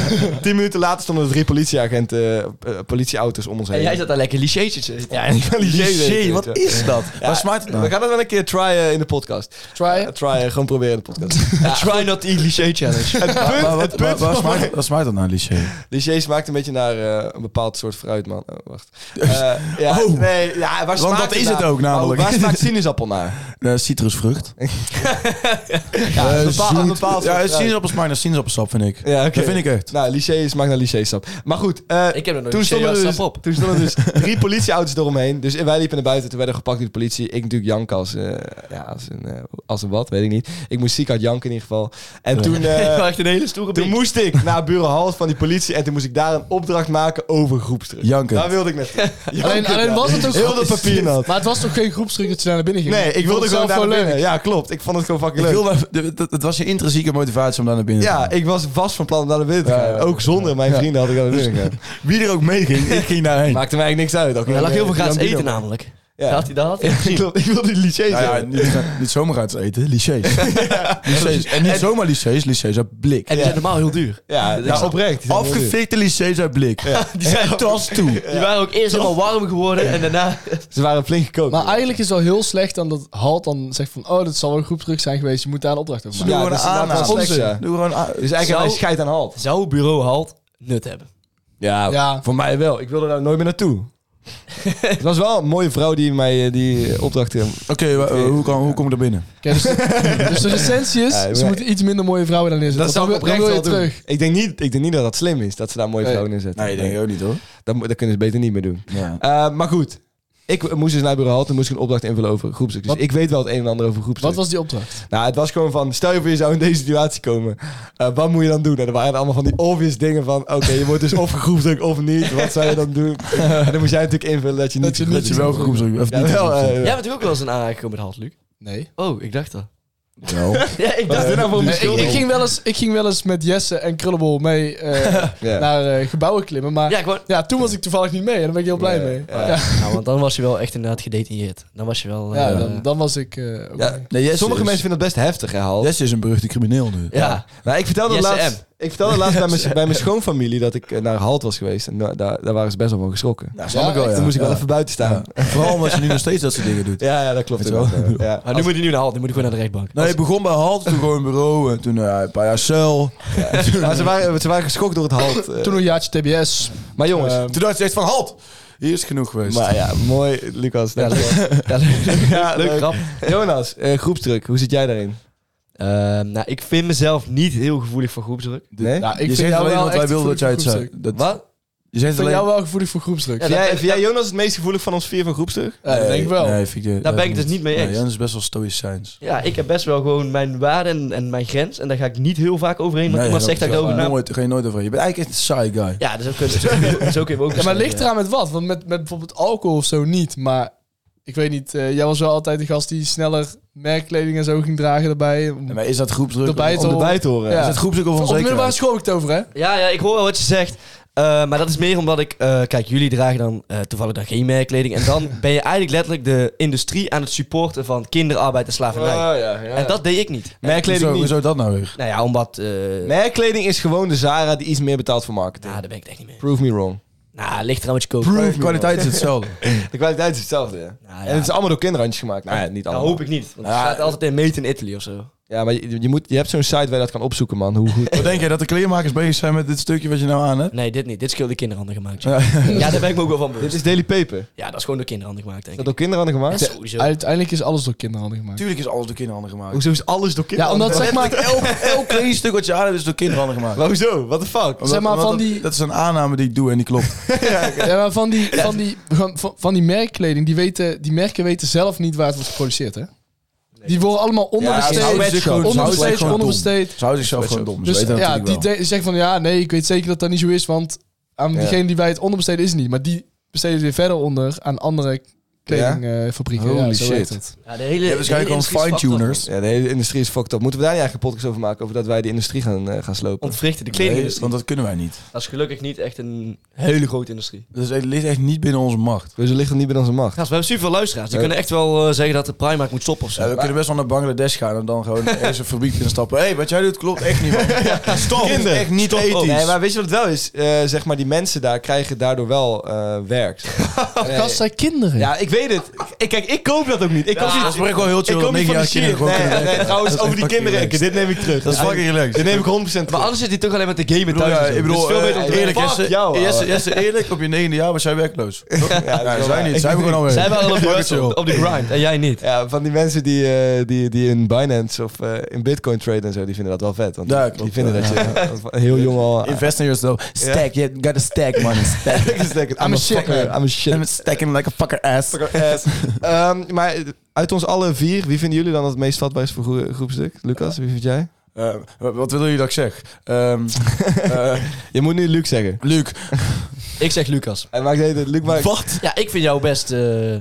Speaker 2: Tien minuten later stonden er drie politieagenten, eh, eh, politieauto's om ons heen.
Speaker 4: En jij zat daar lekker licheetjes te eten.
Speaker 2: Ja, en ik ben
Speaker 3: Jee,
Speaker 2: Ligier, weet je wel.
Speaker 3: wat is dat?
Speaker 2: Ja,
Speaker 3: Waar smaakt het
Speaker 2: We
Speaker 3: nou?
Speaker 2: gaan dat wel een keer tryen in de podcast. Eh,
Speaker 5: Try
Speaker 2: Tryen, gewoon proberen in de podcast.
Speaker 4: A Try not to eat lichee challenge.
Speaker 2: het punt,
Speaker 3: Maar
Speaker 2: het
Speaker 3: wat,
Speaker 2: punt
Speaker 3: waar, waar
Speaker 2: van
Speaker 3: smaakt,
Speaker 2: mijn-
Speaker 3: waar smaakt dat naar, Liché?
Speaker 2: Ligier smaakt Dus een beetje naar eh, een bepaald soort fruit, man. Oh, wacht. Eh, ja,
Speaker 3: Oh.
Speaker 2: nee, ja, waar smaakt
Speaker 3: dat is het
Speaker 2: naar?
Speaker 3: ook namelijk.
Speaker 2: Oh, waar smaakt sinaasappel naar?
Speaker 3: Eh, citrusvrucht.
Speaker 2: Ja, een bepaal- een
Speaker 3: zoet.
Speaker 2: bepaald soort
Speaker 3: ja,
Speaker 2: fruit.
Speaker 3: sinaasappel smaakt naar sinaasappelsap, vind ik.
Speaker 2: Ja, oké.
Speaker 3: Dat vind ik echt.
Speaker 2: Nou, lycée smaakt naar lycée-sap. Maar goed, eh,
Speaker 4: Ik heb er nog
Speaker 2: toen,
Speaker 4: een
Speaker 2: stonden er
Speaker 4: serieus
Speaker 2: dus,
Speaker 4: sap op.
Speaker 2: toen stonden er dus drie politieauto's eromheen. Dus wij liepen naar buiten, toen werden we gepakt door de politie. Ik natuurlijk jank als, eh, ja, als, een, eh, als een wat, weet ik niet. Ik moest ziek uit janken in ieder geval. En toen, eh,
Speaker 4: Maar echt een hele stoere
Speaker 2: toen
Speaker 4: blik.
Speaker 2: moest ik naar Burenhals van die politie. En toen moest ik daar een opdracht maken over groepsdruk.
Speaker 3: Janken.
Speaker 2: Daar wilde ik net.
Speaker 5: Alleen, alleen was het ook
Speaker 2: Heel dat papier nat.
Speaker 5: Maar het was toch geen groepsdruk dat je daar naar binnen ging?
Speaker 2: Nee, ik
Speaker 5: vond
Speaker 2: wilde
Speaker 5: het
Speaker 2: gewoon daar
Speaker 5: zelf wel
Speaker 2: naar
Speaker 5: leuk.
Speaker 2: binnen. Ja, klopt. Ik vond het gewoon
Speaker 3: Ik
Speaker 2: fucking leuk.
Speaker 3: wilde- de- de- het was je intrinsieke motivatie om daar naar binnen te gaan.
Speaker 2: Ja, ik was vast van plan om daar naar binnen te gaan.
Speaker 3: Ja, ja.
Speaker 2: Ook zonder mijn
Speaker 3: Ja.
Speaker 2: vrienden had ik daar naar binnen gegaan.
Speaker 3: Wie er ook mee ging, ik ging daarheen.
Speaker 2: Dus- Maakte mij eigenlijk niks uit. Ook
Speaker 4: Er lag
Speaker 2: niet,
Speaker 4: heel veel
Speaker 2: eh,
Speaker 4: gratis
Speaker 2: Gambino.
Speaker 4: eten namelijk.
Speaker 2: Ja.
Speaker 4: Had hij dat? Had hij dat gezien?
Speaker 2: Klopt, ik wil die lycée
Speaker 3: Nou ja,
Speaker 2: zeggen.
Speaker 3: niet, niet zomaar uit eten, lycées. Lycées. En niet zomaar lycées, lycées uit blik.
Speaker 4: En die zijn normaal heel duur.
Speaker 2: Ja, nou, oprecht. die zijn heel duur.
Speaker 3: Afgefikte lycées uit blik.
Speaker 4: Die, zijn ook-
Speaker 3: Tas toe.
Speaker 4: die waren ook eerst helemaal warm geworden en daarna...
Speaker 2: Ze waren flink gekookt.
Speaker 5: Maar eigenlijk is het wel heel slecht dan dat Halt dan zegt van... Oh, dat zal wel een groepsdruk zijn geweest. Je moet daar een opdracht over
Speaker 3: Doe
Speaker 2: Ja,
Speaker 5: maken.
Speaker 2: dus dat
Speaker 3: gewoon een
Speaker 2: is inderdaad
Speaker 3: aanname.
Speaker 2: wel slecht, ja.
Speaker 3: Doe gewoon aan.
Speaker 2: Dus eigenlijk
Speaker 4: Zou-
Speaker 2: een scheid aan halt.
Speaker 4: Zou bureau halt nut hebben?
Speaker 2: Ja,
Speaker 5: Ja.
Speaker 2: voor mij wel. Ik wilde daar nooit meer naartoe. Het was wel een mooie vrouw die mij eh, die opdracht... eh,
Speaker 3: Oké, wa- eh, hoe, kan- hoe kom ik er binnen?
Speaker 5: Oké, dus, dus de recensie is...
Speaker 2: Ja,
Speaker 5: ze
Speaker 2: maar-
Speaker 5: moeten iets minder mooie vrouwen dan neerzetten.
Speaker 2: Dat
Speaker 5: Want
Speaker 2: zou ik
Speaker 5: dan wil-
Speaker 2: oprecht
Speaker 5: dan
Speaker 2: wel
Speaker 5: wil je
Speaker 2: doen.
Speaker 5: terug.
Speaker 2: Ik denk, niet, ik denk niet dat dat slim is, dat ze daar mooie
Speaker 5: Nee.
Speaker 2: vrouwen in zetten.
Speaker 3: ook niet hoor.
Speaker 2: Dat, mo- dat kunnen ze beter niet meer doen.
Speaker 3: Ja.
Speaker 2: Eh, maar goed, ik moest dus naar bureau halt en moest ik een opdracht invullen over groepsdruk. Dus
Speaker 5: Wat-
Speaker 2: ik weet wel het een en ander over groepsdruk.
Speaker 5: Wat was die opdracht?
Speaker 2: Nou, het was gewoon van, stel je voor je zou in deze situatie komen. Eh, wat moet je dan doen? En er waren allemaal van die obvious dingen van, oké, je wordt dus of groepsdruk of niet. Wat zou je dan doen? En dan moest jij natuurlijk invullen dat je niet
Speaker 5: Dat je
Speaker 3: Dat je wel groepsdruk of
Speaker 2: Ja,
Speaker 3: niet
Speaker 2: wel.
Speaker 3: groepsdruk.
Speaker 2: eh,
Speaker 4: Jij bent ook wel eens een aanraking met halt, Luc.
Speaker 5: Nee.
Speaker 4: Oh, ik dacht dat.
Speaker 3: Wel.
Speaker 4: Ja, ik
Speaker 2: Wat is
Speaker 4: dacht...
Speaker 2: dit nou voor een
Speaker 5: Ik,
Speaker 2: beschuldiging?
Speaker 5: ik ging wel eens, ik ging wel eens met Jesse en Krullebol mee eh,
Speaker 2: Ja.
Speaker 5: naar eh, gebouwen klimmen. Maar
Speaker 4: Ja,
Speaker 5: ja.
Speaker 4: gewoon...
Speaker 5: toen was ik toevallig niet mee. En daar ben ik heel blij
Speaker 2: Ja, Oh,
Speaker 5: mee.
Speaker 2: ja.
Speaker 5: Ja,
Speaker 4: Nou, want dan was je wel echt inderdaad gedetailleerd. Dan was je wel...
Speaker 5: Ja,
Speaker 4: eh,
Speaker 5: dan, dan was ik... eh, ook
Speaker 2: Ja,
Speaker 5: mee.
Speaker 3: Nee, Jesse
Speaker 2: Sommige
Speaker 3: is-
Speaker 2: mensen vinden dat best heftig, hè, Hal?
Speaker 3: Jesse is een beruchte crimineel nu.
Speaker 4: ja.
Speaker 2: Nou, ik vertelde
Speaker 4: Yes,
Speaker 2: laatst, ik vertelde laatst bij, mijn, bij mijn schoonfamilie dat ik eh, naar Halt was geweest. En da- daar, daar waren ze best wel van geschrokken.
Speaker 3: Ja,
Speaker 5: Ja,
Speaker 3: wel.
Speaker 5: echt,
Speaker 3: ja.
Speaker 2: Toen moest ik wel
Speaker 3: Ja.
Speaker 2: even buiten staan.
Speaker 3: Ja. Vooral omdat je nu nog steeds dat soort dingen doet.
Speaker 2: Ja, ja dat klopt.
Speaker 3: Weet je wel.
Speaker 2: inderdaad, ja. Ja.
Speaker 4: Maar nu moet hij nu naar halt. Nu moet ik gewoon naar de rechtbank.
Speaker 3: Nee, je begon bij Halt, toen gewoon bureau, en toen eh, een paar jaar cel.
Speaker 2: Maar ze, waren, ze waren geschokt door het Halt. eh.
Speaker 5: Toen een jaartje TBS.
Speaker 2: maar jongens,
Speaker 3: Toen dacht je echt van Halt, hier is het genoeg geweest.
Speaker 2: Ehm, maar ja, mooi, Lucas.
Speaker 4: Ja,
Speaker 2: dankjewel.
Speaker 4: Ja, leuk.
Speaker 2: Ja,
Speaker 4: Leuk grap.
Speaker 2: Jonas, eh, groepsdruk, hoe zit jij daarin?
Speaker 4: Ehm, nou, ik vind mezelf niet heel gevoelig voor groepsdruk.
Speaker 2: Nee?
Speaker 5: Ja, ik
Speaker 3: je
Speaker 5: vind
Speaker 3: zegt
Speaker 5: jou
Speaker 3: alleen
Speaker 5: wel
Speaker 3: want wij
Speaker 5: echt
Speaker 3: wilden dat jij het
Speaker 5: gevoelig
Speaker 3: zei.
Speaker 5: voor
Speaker 3: Dat,
Speaker 4: Wat?
Speaker 3: Je zegt
Speaker 5: Ik vind
Speaker 3: alleen...
Speaker 5: jou wel gevoelig voor groepsdruk.
Speaker 4: Ja,
Speaker 5: Ja,
Speaker 2: Vind jij,
Speaker 4: dat-
Speaker 2: vind jij Jonas het meest gevoelig van ons vier van groepsdruk?
Speaker 5: dat denk ik wel.
Speaker 3: Nee, vind je,
Speaker 4: Daar ben ik het dus niet mee
Speaker 3: Nee,
Speaker 4: eens.
Speaker 3: Jan is best wel stoïcijns.
Speaker 4: Ja, ik heb best wel gewoon mijn waarde en, en mijn grens. En daar ga ik niet heel vaak overheen. Want iemand zegt dat ik erover
Speaker 3: nooit,
Speaker 4: na...
Speaker 3: nooit, ga je nooit over. Je bent eigenlijk echt een saai guy.
Speaker 4: Ja, dat is ook een zo kun je- zo kun je hem ook
Speaker 5: Ja, maar ligt
Speaker 4: beschrijven.
Speaker 5: eraan met wat? Want met, met bijvoorbeeld alcohol of zo niet. Maar ik weet niet, eh, jij was wel altijd de gast die sneller merkkleding en zo ging dragen daarbij.
Speaker 3: En Maar is dat groepsdruk?
Speaker 5: Dat bijt
Speaker 3: of-
Speaker 2: Om erbij te horen.
Speaker 5: Ja.
Speaker 3: Is dat groepsdruk of
Speaker 5: Op de middelbare
Speaker 3: onzekerheid?
Speaker 5: school heb ik het over, hè?
Speaker 4: Ja, ja, ik hoor wel wat je zegt. Eh, maar dat is meer omdat ik... eh, kijk, jullie dragen dan eh, toevallig dan geen merkkleding. En dan ben je eigenlijk letterlijk de industrie aan het supporten van kinderarbeid en
Speaker 2: Oh,
Speaker 4: slavernij. En dat deed ik niet.
Speaker 2: Merkkleding
Speaker 3: Hoezo,
Speaker 2: niet.
Speaker 3: hoezo dat nou weer?
Speaker 4: Nou ja, omdat... eh
Speaker 2: Merkkleding is gewoon de Zara die iets meer betaalt voor marketing.
Speaker 4: Nou, daar ben ik het echt niet mee.
Speaker 2: Prove me wrong.
Speaker 4: Nou, ligt eraan wat je koopt.
Speaker 3: De kwaliteit is hetzelfde.
Speaker 2: De kwaliteit is hetzelfde. hè?
Speaker 4: Nou, ja.
Speaker 2: En het is allemaal door kinderhandjes gemaakt. Nou ja, niet
Speaker 4: Dat
Speaker 2: allemaal.
Speaker 4: hoop ik niet. Want het
Speaker 3: Ja.
Speaker 4: staat altijd in Made in Italy of zo.
Speaker 2: Ja, maar je, je moet, je hebt zo'n site waar je dat kan opzoeken, man. Hoe goed.
Speaker 3: Wat denk jij, dat de kleermakers bezig zijn met dit stukje wat je nou aan hebt?
Speaker 4: Nee, dit niet. Dit is de kinderhanden gemaakt. Ja. ja, daar ben ik me ook wel van
Speaker 2: Dit
Speaker 4: bewust.
Speaker 2: is Daily Paper. Is
Speaker 4: Ja, dat is gewoon door kinderhanden gemaakt, denk
Speaker 2: dat
Speaker 4: ik.
Speaker 2: door kinderhanden
Speaker 4: En
Speaker 2: gemaakt?
Speaker 4: sowieso.
Speaker 5: Uiteindelijk is alles door kinderhanden gemaakt.
Speaker 3: Tuurlijk is alles door kinderhanden gemaakt.
Speaker 2: Hoezo is alles door
Speaker 5: Ja,
Speaker 2: kinderhanden
Speaker 5: omdat zeg maar...
Speaker 3: Elk, elk klein stuk wat je aan hebt is door kinderhanden gemaakt.
Speaker 2: Maar hoezo? What the fuck?
Speaker 3: Omdat-
Speaker 5: maar,
Speaker 3: omdat
Speaker 5: van
Speaker 3: dat-
Speaker 5: die-
Speaker 3: Dat is een aanname die ik doe en die klopt.
Speaker 5: Ja, maar van die, van die, van, van die merkkleding, die, weten, die merken weten zelf niet waar het wordt geproduceerd, hè? Die worden allemaal
Speaker 3: ze
Speaker 5: onderbesteed.
Speaker 3: houden zich gewoon- ze houden zich
Speaker 5: onderbesteed,
Speaker 3: gewoon dom.
Speaker 5: onderbesteed.
Speaker 3: Ze houden zichzelf gewoon dom.
Speaker 5: Dus
Speaker 3: Ze weten
Speaker 5: ja, die
Speaker 3: natuurlijk wel.
Speaker 5: de- zegt van ja, nee, ik weet zeker dat dat niet zo is, want aan
Speaker 2: Ja.
Speaker 5: diegene die wij het onderbesteden is het niet. Maar die besteden het weer verder onder aan andere kledingfabrieken.
Speaker 3: Holy
Speaker 5: ja, zo
Speaker 3: shit.
Speaker 5: werkt het.
Speaker 4: Ja, de hele,
Speaker 3: Ja, waarschijnlijk
Speaker 4: de hele
Speaker 3: gewoon
Speaker 4: industrie is fucked up,
Speaker 3: fine-tuners.
Speaker 2: Ja, de hele industrie is fucked up. Moeten we daar niet eigenlijk een podcast over maken? Over dat wij de industrie gaan, eh, gaan
Speaker 4: man.
Speaker 2: slopen?
Speaker 4: Ontwrichten de
Speaker 3: Nee,
Speaker 4: kledingindustrie.
Speaker 3: want dat kunnen wij niet.
Speaker 4: dat is gelukkig niet echt een hele grote industrie.
Speaker 3: Dus het ligt echt niet binnen onze macht.
Speaker 2: Dus er ligt het niet bij onze macht.
Speaker 4: Gast, we hebben superveel luisteraars. Die
Speaker 2: Ja.
Speaker 4: kunnen echt wel eh, zeggen dat de Primark moet stoppen of zo.
Speaker 3: Ja, we kunnen best wel naar Bangladesh gaan en dan gewoon eens een fabriek instappen. Hé, hey, wat jij doet klopt echt niet, man. Stop.
Speaker 2: Kinderen,
Speaker 3: echt niet
Speaker 2: stop.
Speaker 3: ethisch.
Speaker 2: Nee, maar weet je wat het wel is? Eh, zeg maar, die mensen daar krijgen daardoor wel eh, werk. Nee.
Speaker 3: Eh,
Speaker 5: Gast zijn kinderen.
Speaker 2: Ja, ik weet het. Ik, kijk, ik koop dat ook niet. Ik koop
Speaker 3: Ja,
Speaker 2: niet,
Speaker 3: dat is echt wel heel chill
Speaker 2: Ik
Speaker 3: dat
Speaker 2: koop niet van die
Speaker 3: negenjarige
Speaker 2: shit.
Speaker 3: kinderen gewoon
Speaker 2: Nee,
Speaker 3: kunnen
Speaker 2: nee,
Speaker 3: werken.
Speaker 2: trouwens,
Speaker 3: Dat is
Speaker 2: over die
Speaker 3: fucking
Speaker 2: kinderen.
Speaker 3: relaxed.
Speaker 2: Dit neem ik terug.
Speaker 3: Dat is fucking relaxed.
Speaker 2: Dit neem ik 100% terug.
Speaker 4: Maar anders zit hij toch alleen met de gamen
Speaker 3: Ik bedoel, ja,
Speaker 4: thuis. en zo.
Speaker 3: ik bedoel,
Speaker 4: Dus veel
Speaker 3: eh,
Speaker 4: beter om te
Speaker 3: eerlijk,
Speaker 4: doen.
Speaker 2: Fuck
Speaker 3: Jesse,
Speaker 2: jou,
Speaker 3: Jesse,
Speaker 2: ouwe.
Speaker 3: Jesse, eerlijk, op je negende jaar was jij werkloos. toch?
Speaker 2: dat is wel
Speaker 3: Ja, wij
Speaker 2: waar.
Speaker 3: niet. Zij
Speaker 2: Ik-
Speaker 3: hebben gewoon alweer.
Speaker 4: Zij waren al op,
Speaker 3: Fuck
Speaker 4: die-
Speaker 3: it, joh.
Speaker 4: op, op die grind en jij niet.
Speaker 2: Ja, van die mensen die, eh, die, die in Binance of eh, in Bitcoin traden en zo, die vinden dat wel vet. Want
Speaker 3: Ja,
Speaker 2: die- die
Speaker 3: klopt.
Speaker 2: vinden dat je dat heel jong al...
Speaker 3: Invest in yourself. Stack, you gotta stack money. Stack.
Speaker 2: I'm, I'm a shit, man. I'm a shit.
Speaker 3: I'm stacking like a fucker ass.
Speaker 2: Ehm, maar uit ons alle vier, wie vinden jullie dan het meest vatbaar is voor groe- groepstuk? Lucas, wie vind jij?
Speaker 3: Eh, wat wat wil je dat ik zeg? Ehm, eh,
Speaker 2: Je moet nu Luc zeggen.
Speaker 3: Luc,
Speaker 4: Ik zeg Lucas.
Speaker 2: Hij maakt het Luc maakt...
Speaker 3: wat?
Speaker 4: Ja, ik vind jou best... eh,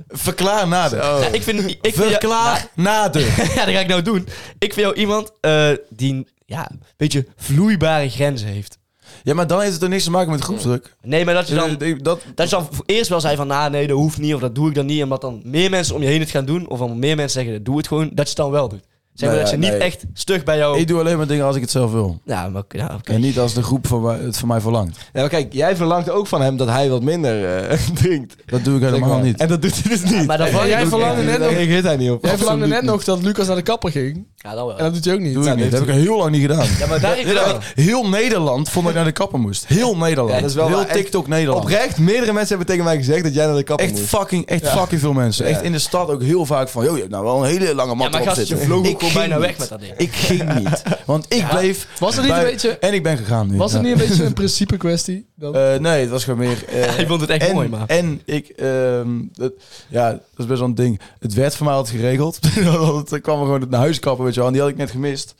Speaker 3: Verklaar nader.
Speaker 4: ja, ik vind, ik vind jou-
Speaker 3: Verklaar nader.
Speaker 4: Nou, ja, dat ga ik nou doen. Ik vind jou iemand eh, die ja, een beetje vloeibare grenzen heeft.
Speaker 3: Ja, maar dan heeft het toch niks te maken met groepsdruk.
Speaker 4: Nee, maar dat je dan...
Speaker 3: Eh, dat,
Speaker 4: Dat je dan voor- eerst wel zei van, nou nee, dat hoeft niet, of dat doe ik dan niet. En wat dan meer mensen om je heen het gaan doen, of dan meer mensen zeggen, doe het gewoon, dat je het dan wel doet. Zeg maar
Speaker 3: Nee,
Speaker 4: dat ze
Speaker 3: ja,
Speaker 4: niet
Speaker 3: nee.
Speaker 4: echt stug bij jou...
Speaker 3: Ik doe alleen maar dingen als ik het zelf wil.
Speaker 4: Ja, maar oké, ja, oké.
Speaker 3: En niet als de groep van mij- het van mij verlangt.
Speaker 2: Ja, maar kijk, jij verlangt ook van hem dat hij wat minder eh, drinkt.
Speaker 3: Dat doe ik helemaal
Speaker 2: Zeg maar.
Speaker 3: niet.
Speaker 2: En dat doet hij dus niet.
Speaker 4: Maar dan
Speaker 5: Jij verlangde net
Speaker 2: Daar
Speaker 5: nog-
Speaker 2: reageert hij niet op.
Speaker 5: Jij verlangde net
Speaker 2: Absoluut
Speaker 5: nog dat Lucas naar de kapper ging.
Speaker 4: Ja, dan wel.
Speaker 5: En dat doet hij ook niet.
Speaker 3: Doe ik niet. Dat heb ik heel lang niet gedaan.
Speaker 4: Ja, maar daar heeft hij wel-
Speaker 3: Heel Nederland vond dat ik naar de kapper moest. Heel Nederland.
Speaker 2: Ja, dat is wel
Speaker 3: heel
Speaker 2: waar. Echt
Speaker 3: TikTok Nederland.
Speaker 2: Oprecht, meerdere mensen hebben tegen mij gezegd dat jij naar de kapper
Speaker 3: Echt
Speaker 2: moet.
Speaker 3: fucking, echt fucking veel mensen. Echt in de stad ook heel vaak van... Yo, je hebt nou wel een hele lange
Speaker 4: Ja,
Speaker 3: mat
Speaker 4: maar
Speaker 3: erop
Speaker 4: gast, je
Speaker 3: zitten.
Speaker 4: vloog
Speaker 3: Ik
Speaker 4: ook gewoon
Speaker 3: ging
Speaker 4: bijna weg
Speaker 3: niet.
Speaker 4: met dat ding.
Speaker 3: Ik ging niet. Want ik bleef...
Speaker 5: Was het niet
Speaker 3: bij-
Speaker 5: een beetje-
Speaker 3: En ik ben gegaan nu.
Speaker 5: Was het
Speaker 3: Ja.
Speaker 5: niet een beetje een principe kwestie? Dan?
Speaker 3: Eh, nee, het was gewoon meer... eh,
Speaker 4: Hij vond het echt
Speaker 3: en,
Speaker 4: mooi, maar...
Speaker 3: En ik, ehm, dat, ja, dat is best wel een ding. Het werd voor mij altijd geregeld. Want Dan kwam er gewoon naar huis kappen, weet je wel. En die had ik net gemist.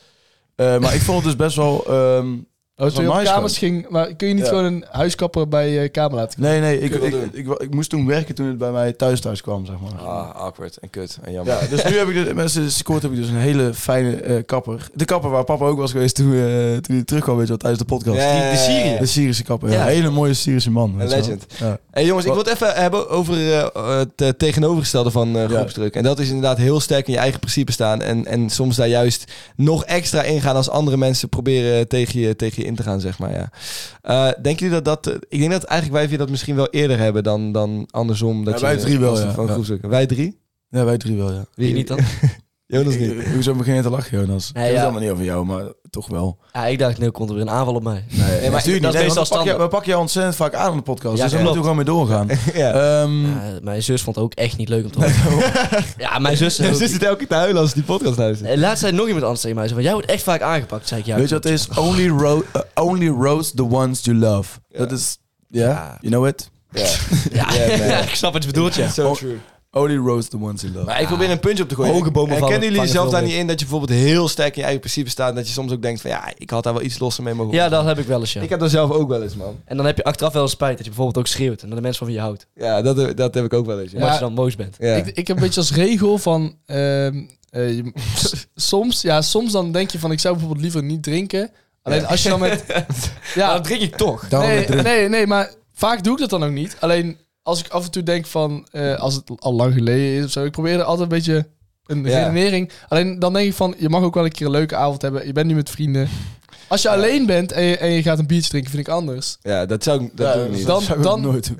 Speaker 3: Eh, maar ik vond het dus best wel... ehm,
Speaker 5: Oh, toen je op
Speaker 3: nice
Speaker 5: kamers ging, maar kun je niet
Speaker 3: Ja.
Speaker 5: gewoon een huiskapper bij eh kamer laten?
Speaker 3: nee, nee, ik,
Speaker 2: Kun je
Speaker 3: ik,
Speaker 2: wel
Speaker 3: ik, ik- ik moest toen werken toen het bij mij thuis thuis kwam, zeg maar.
Speaker 2: Ah, awkward en kut en jammer.
Speaker 3: Ja, dus nu heb ik dus, mensen scoort heb ik dus een hele fijne eh, kapper. De kapper waar papa ook was geweest toen, eh, toen hij terugkwam, weet je wel, tijdens de podcast.
Speaker 2: Ja, ja, ja, ja.
Speaker 3: De Syrische kapper, ja.
Speaker 4: Ja.
Speaker 3: Een hele mooie Syrische man. weet je wel.
Speaker 2: legend.
Speaker 3: Ja.
Speaker 2: Hey jongens, ik wil het even hebben over eh, het eh, tegenovergestelde van eh,
Speaker 3: Ja.
Speaker 2: groepsdruk. En dat is inderdaad heel sterk in je eigen principe staan. En, en soms daar juist nog extra ingaan als andere mensen proberen tegen je, tegen je in te gaan, zeg maar. Ja. Eh, denken jullie dat dat... eh, ik denk dat eigenlijk wij vier dat misschien wel eerder hebben dan, dan andersom. Dat
Speaker 3: Ja,
Speaker 2: je-
Speaker 3: wij drie wel,
Speaker 2: als het
Speaker 3: ja.
Speaker 2: Van
Speaker 3: Ja.
Speaker 2: groepsdruk. Wij drie?
Speaker 3: Ja, wij drie wel, ja.
Speaker 4: Wie niet dan?
Speaker 2: Jonas niet.
Speaker 3: Ik- Hoezo begin je te lachen, Jonas?
Speaker 4: Nee,
Speaker 3: ik heb
Speaker 4: ja.
Speaker 3: het allemaal niet over jou, maar toch wel.
Speaker 4: Ja, ik dacht, nu komt er weer een aanval op mij.
Speaker 3: Nee, maar
Speaker 4: dat is
Speaker 3: niet, hè,
Speaker 4: meestal
Speaker 3: want dan pak je,
Speaker 4: standaard.
Speaker 3: we pakken jou ontzettend vaak aan in de podcast,
Speaker 4: Ja,
Speaker 3: dus daar
Speaker 4: klopt.
Speaker 3: moeten we gewoon mee doorgaan.
Speaker 2: ja.
Speaker 3: Ehm,
Speaker 4: Ja, mijn zus vond het ook echt niet leuk om te horen.
Speaker 3: Oh.
Speaker 4: ja, mijn zus...
Speaker 2: Dus
Speaker 4: ook-
Speaker 2: is het elke keer te huilen als die podcast luistert.
Speaker 4: Eh, Laatst zei nog iemand anders tegen mij, zo van, jij wordt echt vaak aangepakt, zei ik. Ja,
Speaker 3: weet je wat het is? Only, ro eh, only roast the ones you love.
Speaker 2: Ja.
Speaker 3: Dat is... Ja,
Speaker 4: Ja.
Speaker 3: you know it?
Speaker 2: Ja.
Speaker 4: Ja,
Speaker 2: Ja, nee.
Speaker 4: ja, ik snap wat je bedoelt, ja.
Speaker 2: So
Speaker 3: Oh,
Speaker 2: true.
Speaker 3: Only roast the ones you love.
Speaker 2: Maar ik probeer een puntje op te gooien.
Speaker 4: Hoge bomen
Speaker 2: en
Speaker 4: vallen-
Speaker 2: kennen jullie
Speaker 4: vangen
Speaker 2: zelf
Speaker 4: veel
Speaker 2: daar
Speaker 4: wind.
Speaker 2: niet in dat je bijvoorbeeld heel sterk in je eigen principe staat en dat je soms ook denkt van ja, ik had daar wel iets losser mee mogen
Speaker 4: Ja,
Speaker 2: omgaan?
Speaker 4: dat heb ik wel eens, ja.
Speaker 2: Ik heb dat zelf ook wel eens, man.
Speaker 4: En dan heb je achteraf wel eens spijt dat je bijvoorbeeld ook schreeuwt en dat de mensen van wie je houdt.
Speaker 2: Ja, dat, dat heb ik ook wel eens. Ja.
Speaker 4: Omdat je dan boos bent.
Speaker 2: Ja.
Speaker 5: Ik, ik heb een beetje als regel van... ehm, eh, je- s- soms, ja, soms dan denk je van ik zou bijvoorbeeld liever niet drinken. Alleen als je dan met...
Speaker 4: Maar
Speaker 5: Ja,
Speaker 4: dat drink ik toch.
Speaker 3: Daarom
Speaker 5: nee,
Speaker 3: het druk.
Speaker 5: nee, nee, maar vaak doe ik dat dan ook niet. Alleen als ik af en toe denk van... eh, als het al lang geleden is of zo. Ik probeer er altijd een beetje een
Speaker 2: Ja.
Speaker 5: redenering. Alleen dan denk ik van je mag ook wel een keer een leuke avond hebben. Je bent nu met vrienden. Als je alleen bent en je, en je gaat een biertje drinken vind ik anders.
Speaker 2: ja, dat zou ik, dat
Speaker 3: Ja,
Speaker 2: doe ik niet.
Speaker 5: dat-
Speaker 3: dan, zou ik
Speaker 5: dan-
Speaker 3: ook nooit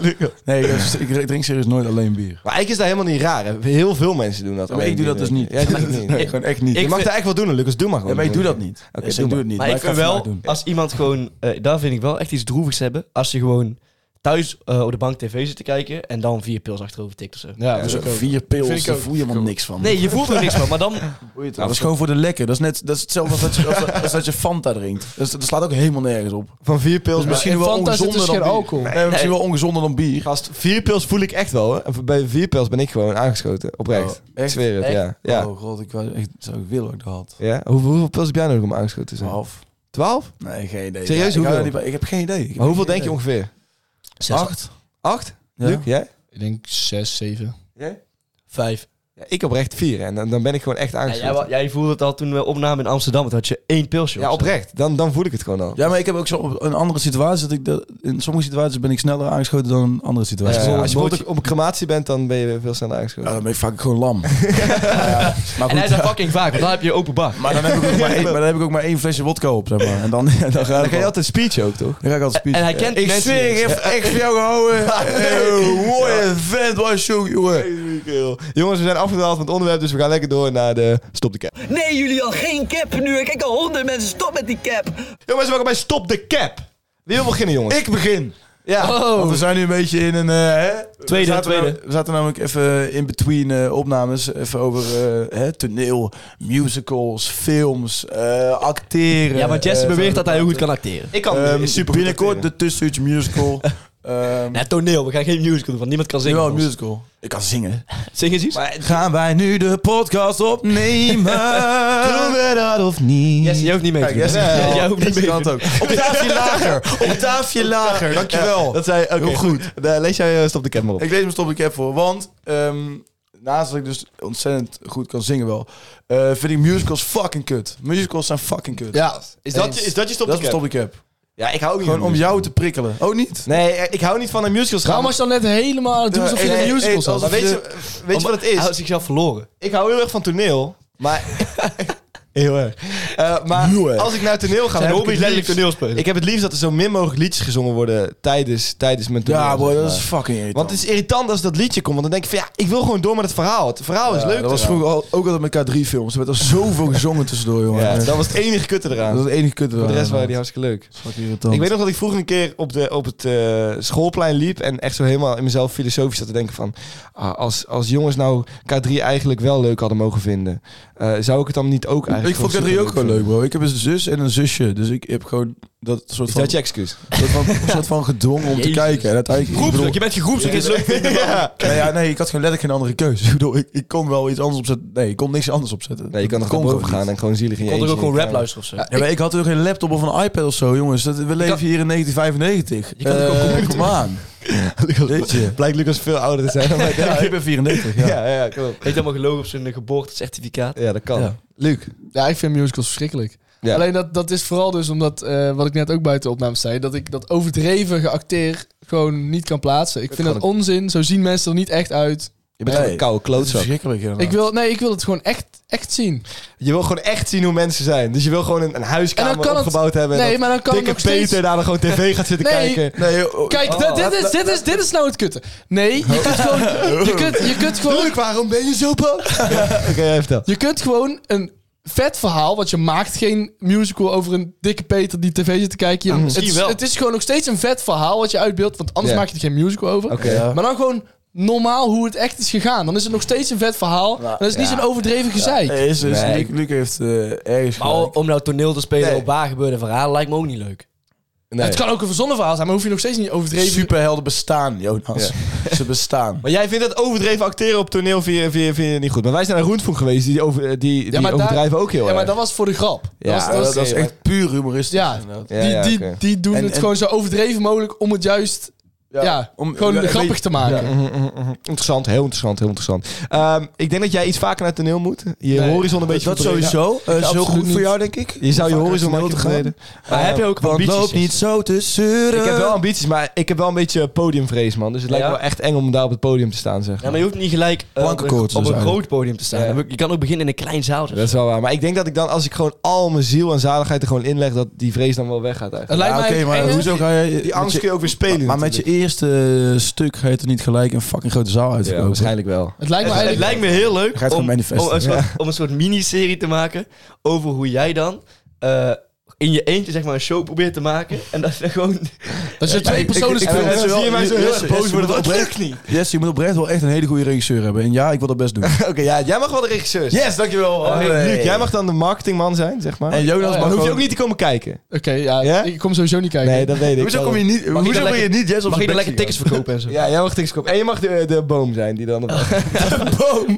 Speaker 3: doen. nee, ik, ik drink serieus nooit alleen bier.
Speaker 2: Maar eigenlijk is dat helemaal niet raar. Hè. Heel veel mensen doen dat.
Speaker 3: maar ik doe dat dus niet.
Speaker 2: Jij doet dat niet.
Speaker 3: Nee, gewoon echt niet.
Speaker 2: je
Speaker 4: Ik
Speaker 2: mag
Speaker 4: vind-
Speaker 2: daar echt wel doen, hè, Lucas. Doe maar
Speaker 3: Ja,
Speaker 2: gewoon.
Speaker 3: maar ik doe dat niet.
Speaker 2: Oké,
Speaker 3: Dus
Speaker 2: doe
Speaker 3: ik
Speaker 2: maar.
Speaker 3: doe het niet.
Speaker 4: Maar ik
Speaker 3: ga
Speaker 4: vind
Speaker 3: het vandaag
Speaker 4: wel,
Speaker 3: doen.
Speaker 4: als iemand gewoon... eh, daar vind ik wel echt iets droevigs hebben. Als je gewoon thuis eh, op de bank tv zit te kijken en dan vier pils achterover tikt of zo.
Speaker 2: Ja,
Speaker 3: Ja,
Speaker 2: dus
Speaker 3: zo
Speaker 2: ook-
Speaker 3: vier
Speaker 5: Vind
Speaker 3: pils,
Speaker 5: ik
Speaker 3: daar
Speaker 5: ook.
Speaker 3: voel je helemaal niks van.
Speaker 4: Nee, je voelt er niks van, maar dan...
Speaker 3: Ja, dat is gewoon voor de lekker. Dat is, net, dat is hetzelfde als dat, je, als, als dat je Fanta drinkt. Dus dat slaat ook helemaal nergens op.
Speaker 2: van vier pils.
Speaker 3: Dus misschien
Speaker 5: in
Speaker 3: wel
Speaker 5: Fanta zit
Speaker 3: ongezonder
Speaker 5: dus
Speaker 3: dan
Speaker 5: geen
Speaker 3: bier.
Speaker 5: alcohol.
Speaker 3: Nee, misschien wel ongezonder dan bier.
Speaker 2: Gast, vier pils voel ik echt wel. Hoor. En Bij vier pils ben ik gewoon aangeschoten. Oprecht.
Speaker 3: Oh, echt?
Speaker 2: Ik zweer het,
Speaker 4: Echt?
Speaker 2: ja. ja.
Speaker 3: Oh god, ik wou echt, zou ik willen dat ik dat had.
Speaker 2: ja? Hoe, hoeveel pils heb jij nodig om aangeschoten te zijn?
Speaker 3: Half.
Speaker 2: Twaalf?
Speaker 3: Nee, geen idee.
Speaker 2: Serieus,
Speaker 3: Ja, ik, hou
Speaker 2: hoeveel?
Speaker 3: er niet bij- ik heb geen idee. Ik
Speaker 2: Maar hoeveel
Speaker 3: heb geen
Speaker 2: denk je
Speaker 3: idee.
Speaker 2: ongeveer?
Speaker 4: Zes,
Speaker 2: Acht? Acht?
Speaker 3: Ja.
Speaker 2: Luc, jij?
Speaker 5: Ik denk 6, 7.
Speaker 2: Jij?
Speaker 4: vijf.
Speaker 2: Ja, ik oprecht vier. En dan, dan ben ik gewoon echt
Speaker 4: Ja, jij,
Speaker 2: aangeschoten.
Speaker 4: wa- jij voelde het al toen we opnamen in Amsterdam. Toen had je één pilsje.
Speaker 2: Ja,
Speaker 4: of zo.
Speaker 2: oprecht. Dan, dan voel ik het gewoon al.
Speaker 3: Ja, maar ik heb ook zo op een andere situatie. Dat ik dat, in sommige situaties ben ik sneller aangeschoten dan in andere
Speaker 2: Ja,
Speaker 3: situaties.
Speaker 2: ja,
Speaker 3: Ja,
Speaker 2: Eh, Als je bijvoorbeeld op een crematie bent, dan ben je veel sneller aangeschoten.
Speaker 3: dan ben ik vaak gewoon lam. Ja, Maar
Speaker 4: En hij
Speaker 3: goed,
Speaker 4: is daar fucking vaak, want dan heb je open bar.
Speaker 3: maar dan, heb ik ook maar één, maar dan heb ik ook maar één flesje wodka op, zeg maar. En dan, dan, dan, ga,
Speaker 2: dan
Speaker 3: ik
Speaker 2: ga je
Speaker 3: al-
Speaker 2: altijd speech ook, toch?
Speaker 3: dan ga ik altijd
Speaker 4: En
Speaker 3: spiezen.
Speaker 4: hij kent die mensen niet eens.
Speaker 3: ik heb echt van jou gehouden. Hey, mooie vent was je, ook, jongen.
Speaker 2: Jongens, we zijn afgedwaald van het onderwerp, dus we gaan lekker door naar de Stop de Cap.
Speaker 6: Nee, jullie al geen cap nu. Ik kijk al honderd mensen. Stop met die cap.
Speaker 2: Jongens, welkom bij Stop de Cap. Wie wil beginnen, jongens?
Speaker 3: Ik begin.
Speaker 2: Ja.
Speaker 3: Want we zijn nu een beetje in een... eh, hè?
Speaker 4: Tweede,
Speaker 3: we zaten
Speaker 4: tweede.
Speaker 3: nam- we zaten namelijk even in between eh, opnames. Even over eh, hè, toneel, musicals, films, eh, acteren.
Speaker 4: Ja, maar Jesse
Speaker 3: eh,
Speaker 4: beweert dat hij heel goed kan acteren.
Speaker 2: Ik kan
Speaker 3: ehm, binnenkort
Speaker 2: acteren.
Speaker 3: de Tussentijds musical. Ehm
Speaker 4: Nee, toneel. We gaan geen musical doen, want niemand kan zingen.
Speaker 3: jawel,
Speaker 4: van ons.
Speaker 3: musical. Ik kan zingen.
Speaker 4: Zing eens iets.
Speaker 3: Gaan wij nu de podcast opnemen?
Speaker 2: Doen we dat of niet?
Speaker 4: Jesse, jij hoeft niet mee te
Speaker 3: Kijk,
Speaker 4: doen.
Speaker 3: Jesse,
Speaker 4: hè? Jij hoeft niet mee te
Speaker 3: kan het
Speaker 4: doen.
Speaker 3: ook. Octaafje lager. Octaafje lager. Dankjewel.
Speaker 2: Dat zei oké,
Speaker 3: Heel goed.
Speaker 2: Eh, lees jij eh, Stop de Cap maar op.
Speaker 3: Ik lees mijn stop ik heb voor, want ehm, naast dat ik dus ontzettend goed kan zingen wel, eh, vind ik musicals fucking kut. Musicals zijn fucking kut.
Speaker 5: Ja,
Speaker 2: Is
Speaker 3: dat je- is
Speaker 2: dat je Stop
Speaker 3: dat is mijn stop ik heb.
Speaker 2: Ja, ik hou ook niet
Speaker 3: Gewoon
Speaker 2: van
Speaker 3: om
Speaker 2: musicals.
Speaker 3: jou te prikkelen. Oh niet?
Speaker 2: Nee, eh, ik hou niet van een musical
Speaker 5: Waarom was je dan net helemaal aan het doen alsof je
Speaker 3: Eh,
Speaker 5: in
Speaker 3: eh,
Speaker 5: een musical
Speaker 3: eh,
Speaker 5: zat? Nou,
Speaker 2: Maar
Speaker 3: alsof
Speaker 2: weet
Speaker 3: je-
Speaker 2: je, weet je wat het
Speaker 4: Hij houdt
Speaker 2: is?
Speaker 4: zichzelf verloren.
Speaker 2: Ik hou heel erg van toneel, maar... heel erg. Eh, maar
Speaker 3: Heel erg.
Speaker 2: als ik naar toneel ga, dan heb ik het liefst-
Speaker 4: toneelspelen.
Speaker 2: Ik heb het liefst dat er zo min mogelijk liedjes gezongen worden tijdens, tijdens mijn toneel.
Speaker 3: Ja, boy,
Speaker 2: zeg
Speaker 3: dat
Speaker 2: maar.
Speaker 3: is fucking irritant.
Speaker 2: Want het is irritant als dat liedje komt, want dan denk ik van ja, ik wil gewoon door met het verhaal. Het verhaal is
Speaker 3: Ja,
Speaker 2: leuk.
Speaker 3: Dat was
Speaker 2: eraan.
Speaker 3: vroeger al, ook altijd met K3 films. Er werd al zoveel gezongen tussendoor, jongen.
Speaker 2: Ja,
Speaker 3: Eh,
Speaker 2: dat was het enige kutte
Speaker 3: dat
Speaker 2: eraan.
Speaker 3: is het enige kut.
Speaker 2: Voor de rest waren die hartstikke leuk.
Speaker 3: fucking irritant.
Speaker 2: Ik weet nog dat ik vroeger een keer op, de, op het eh, schoolplein liep en echt zo helemaal in mezelf filosofisch zat te denken van... ah, als, als jongens nou K3 eigenlijk wel leuk hadden mogen vinden, eh, zou ik het dan niet ook eigenlijk
Speaker 3: ik vond
Speaker 2: gewoon
Speaker 3: K3 ook gewoon
Speaker 2: superleuk
Speaker 3: leuk,
Speaker 2: vinden?
Speaker 3: bro. Ik heb een zus en een zusje. Dus ik heb gewoon dat soort
Speaker 2: Is
Speaker 3: van,
Speaker 2: dat je excuus?
Speaker 3: soort van, soort van gedwongen om te
Speaker 4: Jezus.
Speaker 3: kijken. En uiteindelijk, ik bedoel-
Speaker 4: je bent gegroepsdruk. is leuk.
Speaker 2: ja.
Speaker 3: Nee, ja, nee, ik had gewoon letterlijk geen andere keuze. Ik bedoel, ik, ik kon wel iets anders opzetten. Nee, ik kon niks anders opzetten.
Speaker 2: Nee, je kan er
Speaker 3: Dat
Speaker 2: gewoon
Speaker 3: kon
Speaker 2: boven gaan en gewoon zielig in
Speaker 4: Je
Speaker 2: je
Speaker 4: kon er ook
Speaker 2: eentje
Speaker 4: gewoon rap
Speaker 2: in.
Speaker 4: luisteren of zo.
Speaker 3: Ja, maar ik had ook geen laptop of een iPad of zo, jongens. Dat, we leven
Speaker 4: kan-
Speaker 3: hier in 1995.
Speaker 4: Je kan ook
Speaker 3: Eh,
Speaker 4: op computer.
Speaker 3: kom aan. Weet je.
Speaker 2: Blijkt Lucas veel ouder te zijn dan wij.
Speaker 3: Ja, ik ben 34, ja.
Speaker 2: Ja, ja, klopt.
Speaker 4: Heeft helemaal gelogen op zijn geboortecertificaat.
Speaker 2: Ja, dat kan.
Speaker 3: Ja.
Speaker 2: Luc.
Speaker 5: Ja, ik vind musicals verschrikkelijk.
Speaker 2: Ja.
Speaker 5: Alleen dat, dat is vooral dus omdat, eh, wat ik net ook buiten opnames zei, dat ik dat overdreven geacteer gewoon niet kan plaatsen. Ik vind
Speaker 2: kan
Speaker 5: dat onzin. Zo zien mensen er niet echt uit.
Speaker 2: Je bent gewoon een
Speaker 3: Nee.
Speaker 2: koude
Speaker 3: Dat is
Speaker 2: klootzak.
Speaker 3: verschrikkelijk,
Speaker 5: Ik
Speaker 3: inderdaad.
Speaker 5: wil, nee, ik wil het gewoon echt, echt zien.
Speaker 2: Je wil gewoon echt zien hoe mensen zijn. Dus je wil gewoon een, een
Speaker 5: En dan
Speaker 2: huiskamer
Speaker 5: kan het-
Speaker 2: opgebouwd hebben.
Speaker 5: nee,
Speaker 2: en
Speaker 5: maar dan
Speaker 2: dat
Speaker 5: kan het
Speaker 2: dikke
Speaker 5: nog steeds...
Speaker 2: Peter daar dan gewoon tv gaat zitten
Speaker 5: Nee.
Speaker 2: kijken.
Speaker 3: Nee, oh,
Speaker 5: Kijk,
Speaker 3: oh,
Speaker 5: dit, dit, is, dit, is, dit is nou het kutte. Nee, je kunt gewoon, je kunt, je kunt gewoon,
Speaker 2: Luc, waarom ben je zo boos? Oké, jij vertel.
Speaker 5: je kunt gewoon een vet verhaal, want je maakt geen musical over een dikke Peter die tv zit te kijken.
Speaker 2: Ah,
Speaker 5: Je, het,
Speaker 4: misschien
Speaker 5: is-
Speaker 4: wel.
Speaker 5: het is gewoon nog steeds een vet verhaal wat je uitbeeldt, want anders
Speaker 2: Ja.
Speaker 5: maak je er geen musical over.
Speaker 2: Oké.
Speaker 3: Ja.
Speaker 5: Maar dan gewoon normaal hoe het echt is gegaan. Dan is het nog steeds een vet verhaal. Dan is het niet
Speaker 3: ja.
Speaker 5: zo'n overdreven gezeik.
Speaker 3: Nee, is, is,
Speaker 2: Nee.
Speaker 3: Luc, Luc heeft eh, ergens
Speaker 4: Maar
Speaker 3: gelijk.
Speaker 4: om nou toneel te spelen
Speaker 2: Nee.
Speaker 4: op waar gebeurde verhalen lijkt me ook niet leuk.
Speaker 2: Nee.
Speaker 5: Het kan ook een verzonnen verhaal zijn, maar hoef je nog steeds niet overdreven...
Speaker 3: Superhelden bestaan, Jonas. Ze bestaan.
Speaker 2: Maar jij vindt dat overdreven acteren op toneel vind je, vind je- vind je niet goed. Maar wij zijn naar Roentvoet geweest. Die, over, die, die
Speaker 5: maar daar-
Speaker 2: overdrijven ook heel
Speaker 5: Ja, maar
Speaker 2: erg.
Speaker 5: dat was voor de grap.
Speaker 2: Ja,
Speaker 5: dat was, dat
Speaker 3: dat,
Speaker 5: was-
Speaker 3: dat is
Speaker 2: oké,
Speaker 3: echt puur humoristisch.
Speaker 5: Ja.
Speaker 3: inderdaad.
Speaker 2: Ja,
Speaker 5: die,
Speaker 2: ja,
Speaker 5: die,
Speaker 2: oké.
Speaker 5: die doen
Speaker 3: En-
Speaker 5: het
Speaker 3: en-
Speaker 5: gewoon zo overdreven mogelijk om het juist ja,
Speaker 3: om-
Speaker 5: gewoon
Speaker 3: ja, een
Speaker 5: grappig
Speaker 3: beetje-
Speaker 5: te maken.
Speaker 2: Mhm, mhm, mhm. Interessant, heel interessant, heel interessant. Ehm, ik denk dat jij iets vaker naar toneel moet. Je
Speaker 5: Nee,
Speaker 2: horizon een beetje
Speaker 3: Dat
Speaker 2: verbreden.
Speaker 3: sowieso. Eh, is heel
Speaker 5: absoluut
Speaker 3: goed voor
Speaker 5: niet.
Speaker 3: jou, denk ik.
Speaker 2: Je zou je
Speaker 3: Vaker
Speaker 2: horizon
Speaker 3: toneel
Speaker 2: moeten
Speaker 3: te gaan.
Speaker 2: verbreden. Ehm,
Speaker 4: Maar heb je ook
Speaker 3: Want
Speaker 4: ambities?
Speaker 3: loop niet zo te zeuren.
Speaker 2: Ik heb wel ambities, maar ik heb wel een beetje podiumvrees, man. Dus het lijkt
Speaker 4: Ja?
Speaker 2: me wel echt eng om daar op het podium te staan, zeg.
Speaker 4: Ja, maar je hoeft niet gelijk eh, op een,
Speaker 3: Plankenkoorts
Speaker 4: op
Speaker 3: dus
Speaker 4: een groot
Speaker 3: eigenlijk.
Speaker 4: podium te
Speaker 2: Ja.
Speaker 4: staan. Je kan ook beginnen in een klein zaal.
Speaker 2: Dat is wel waar. Maar ik denk dat ik dan, als ik gewoon al mijn ziel en zaligheid er gewoon in leg, dat die vrees dan wel weggaat
Speaker 5: Het
Speaker 2: eigenlijk.
Speaker 3: Ja,
Speaker 5: lijkt mij
Speaker 3: Oké,
Speaker 5: het
Speaker 3: maar
Speaker 5: enge-
Speaker 3: hoezo ga je... met
Speaker 2: Die angst
Speaker 3: je-
Speaker 2: kun je ook weer spelen
Speaker 3: Maar met je eerste eh, stuk ga je er niet gelijk een fucking grote zaal
Speaker 2: natuurlijk.
Speaker 3: uitverkopen.
Speaker 2: Ja, waarschijnlijk wel.
Speaker 5: Het lijkt me
Speaker 4: Het
Speaker 5: eigenlijk...
Speaker 4: lijkt me heel
Speaker 3: Ga
Speaker 4: leuk
Speaker 3: je het
Speaker 4: om,
Speaker 3: gewoon manifesten.
Speaker 4: om een soort, om een soort miniserie te maken over hoe jij dan eh, in je eentje zeg maar een show probeert te maken. En dat je gewoon...
Speaker 5: Dat is een twee personen
Speaker 3: ik- ik vind
Speaker 5: spel.
Speaker 3: het zo-
Speaker 2: Zie je mij zo heel
Speaker 3: Jesse,
Speaker 2: erg boos
Speaker 3: Jesse,
Speaker 2: worden?
Speaker 3: moet
Speaker 2: Dat lukt
Speaker 3: oprecht-
Speaker 2: niet.
Speaker 3: Yes, je moet oprecht wel echt een hele goede regisseur hebben. En ja, ik wil dat best doen.
Speaker 2: Oké, ja, jij mag wel de regisseur zijn.
Speaker 3: Yes, dankjewel.
Speaker 2: Hey,
Speaker 3: Hey.
Speaker 2: Luc, jij mag dan de marketingman zijn, zeg maar.
Speaker 3: En
Speaker 2: Oh, En
Speaker 3: Jonas
Speaker 5: Oh, ja.
Speaker 2: dan
Speaker 3: mag
Speaker 2: hoef je
Speaker 3: gewoon-
Speaker 2: ook niet te komen kijken.
Speaker 5: Oké, ja,
Speaker 2: Ja?
Speaker 5: ik kom sowieso niet kijken.
Speaker 2: Nee, dat weet ik.
Speaker 3: Hoezo kom je niet?
Speaker 4: ik
Speaker 3: Hoezo
Speaker 4: dan
Speaker 3: wil je niet Jess op
Speaker 4: Mag je
Speaker 3: zijn bek
Speaker 4: dan lekker
Speaker 3: zien?
Speaker 4: tickets verkopen en zo?
Speaker 2: Ja, jij mag tickets kopen. En je mag de, de boom zijn die dan... op-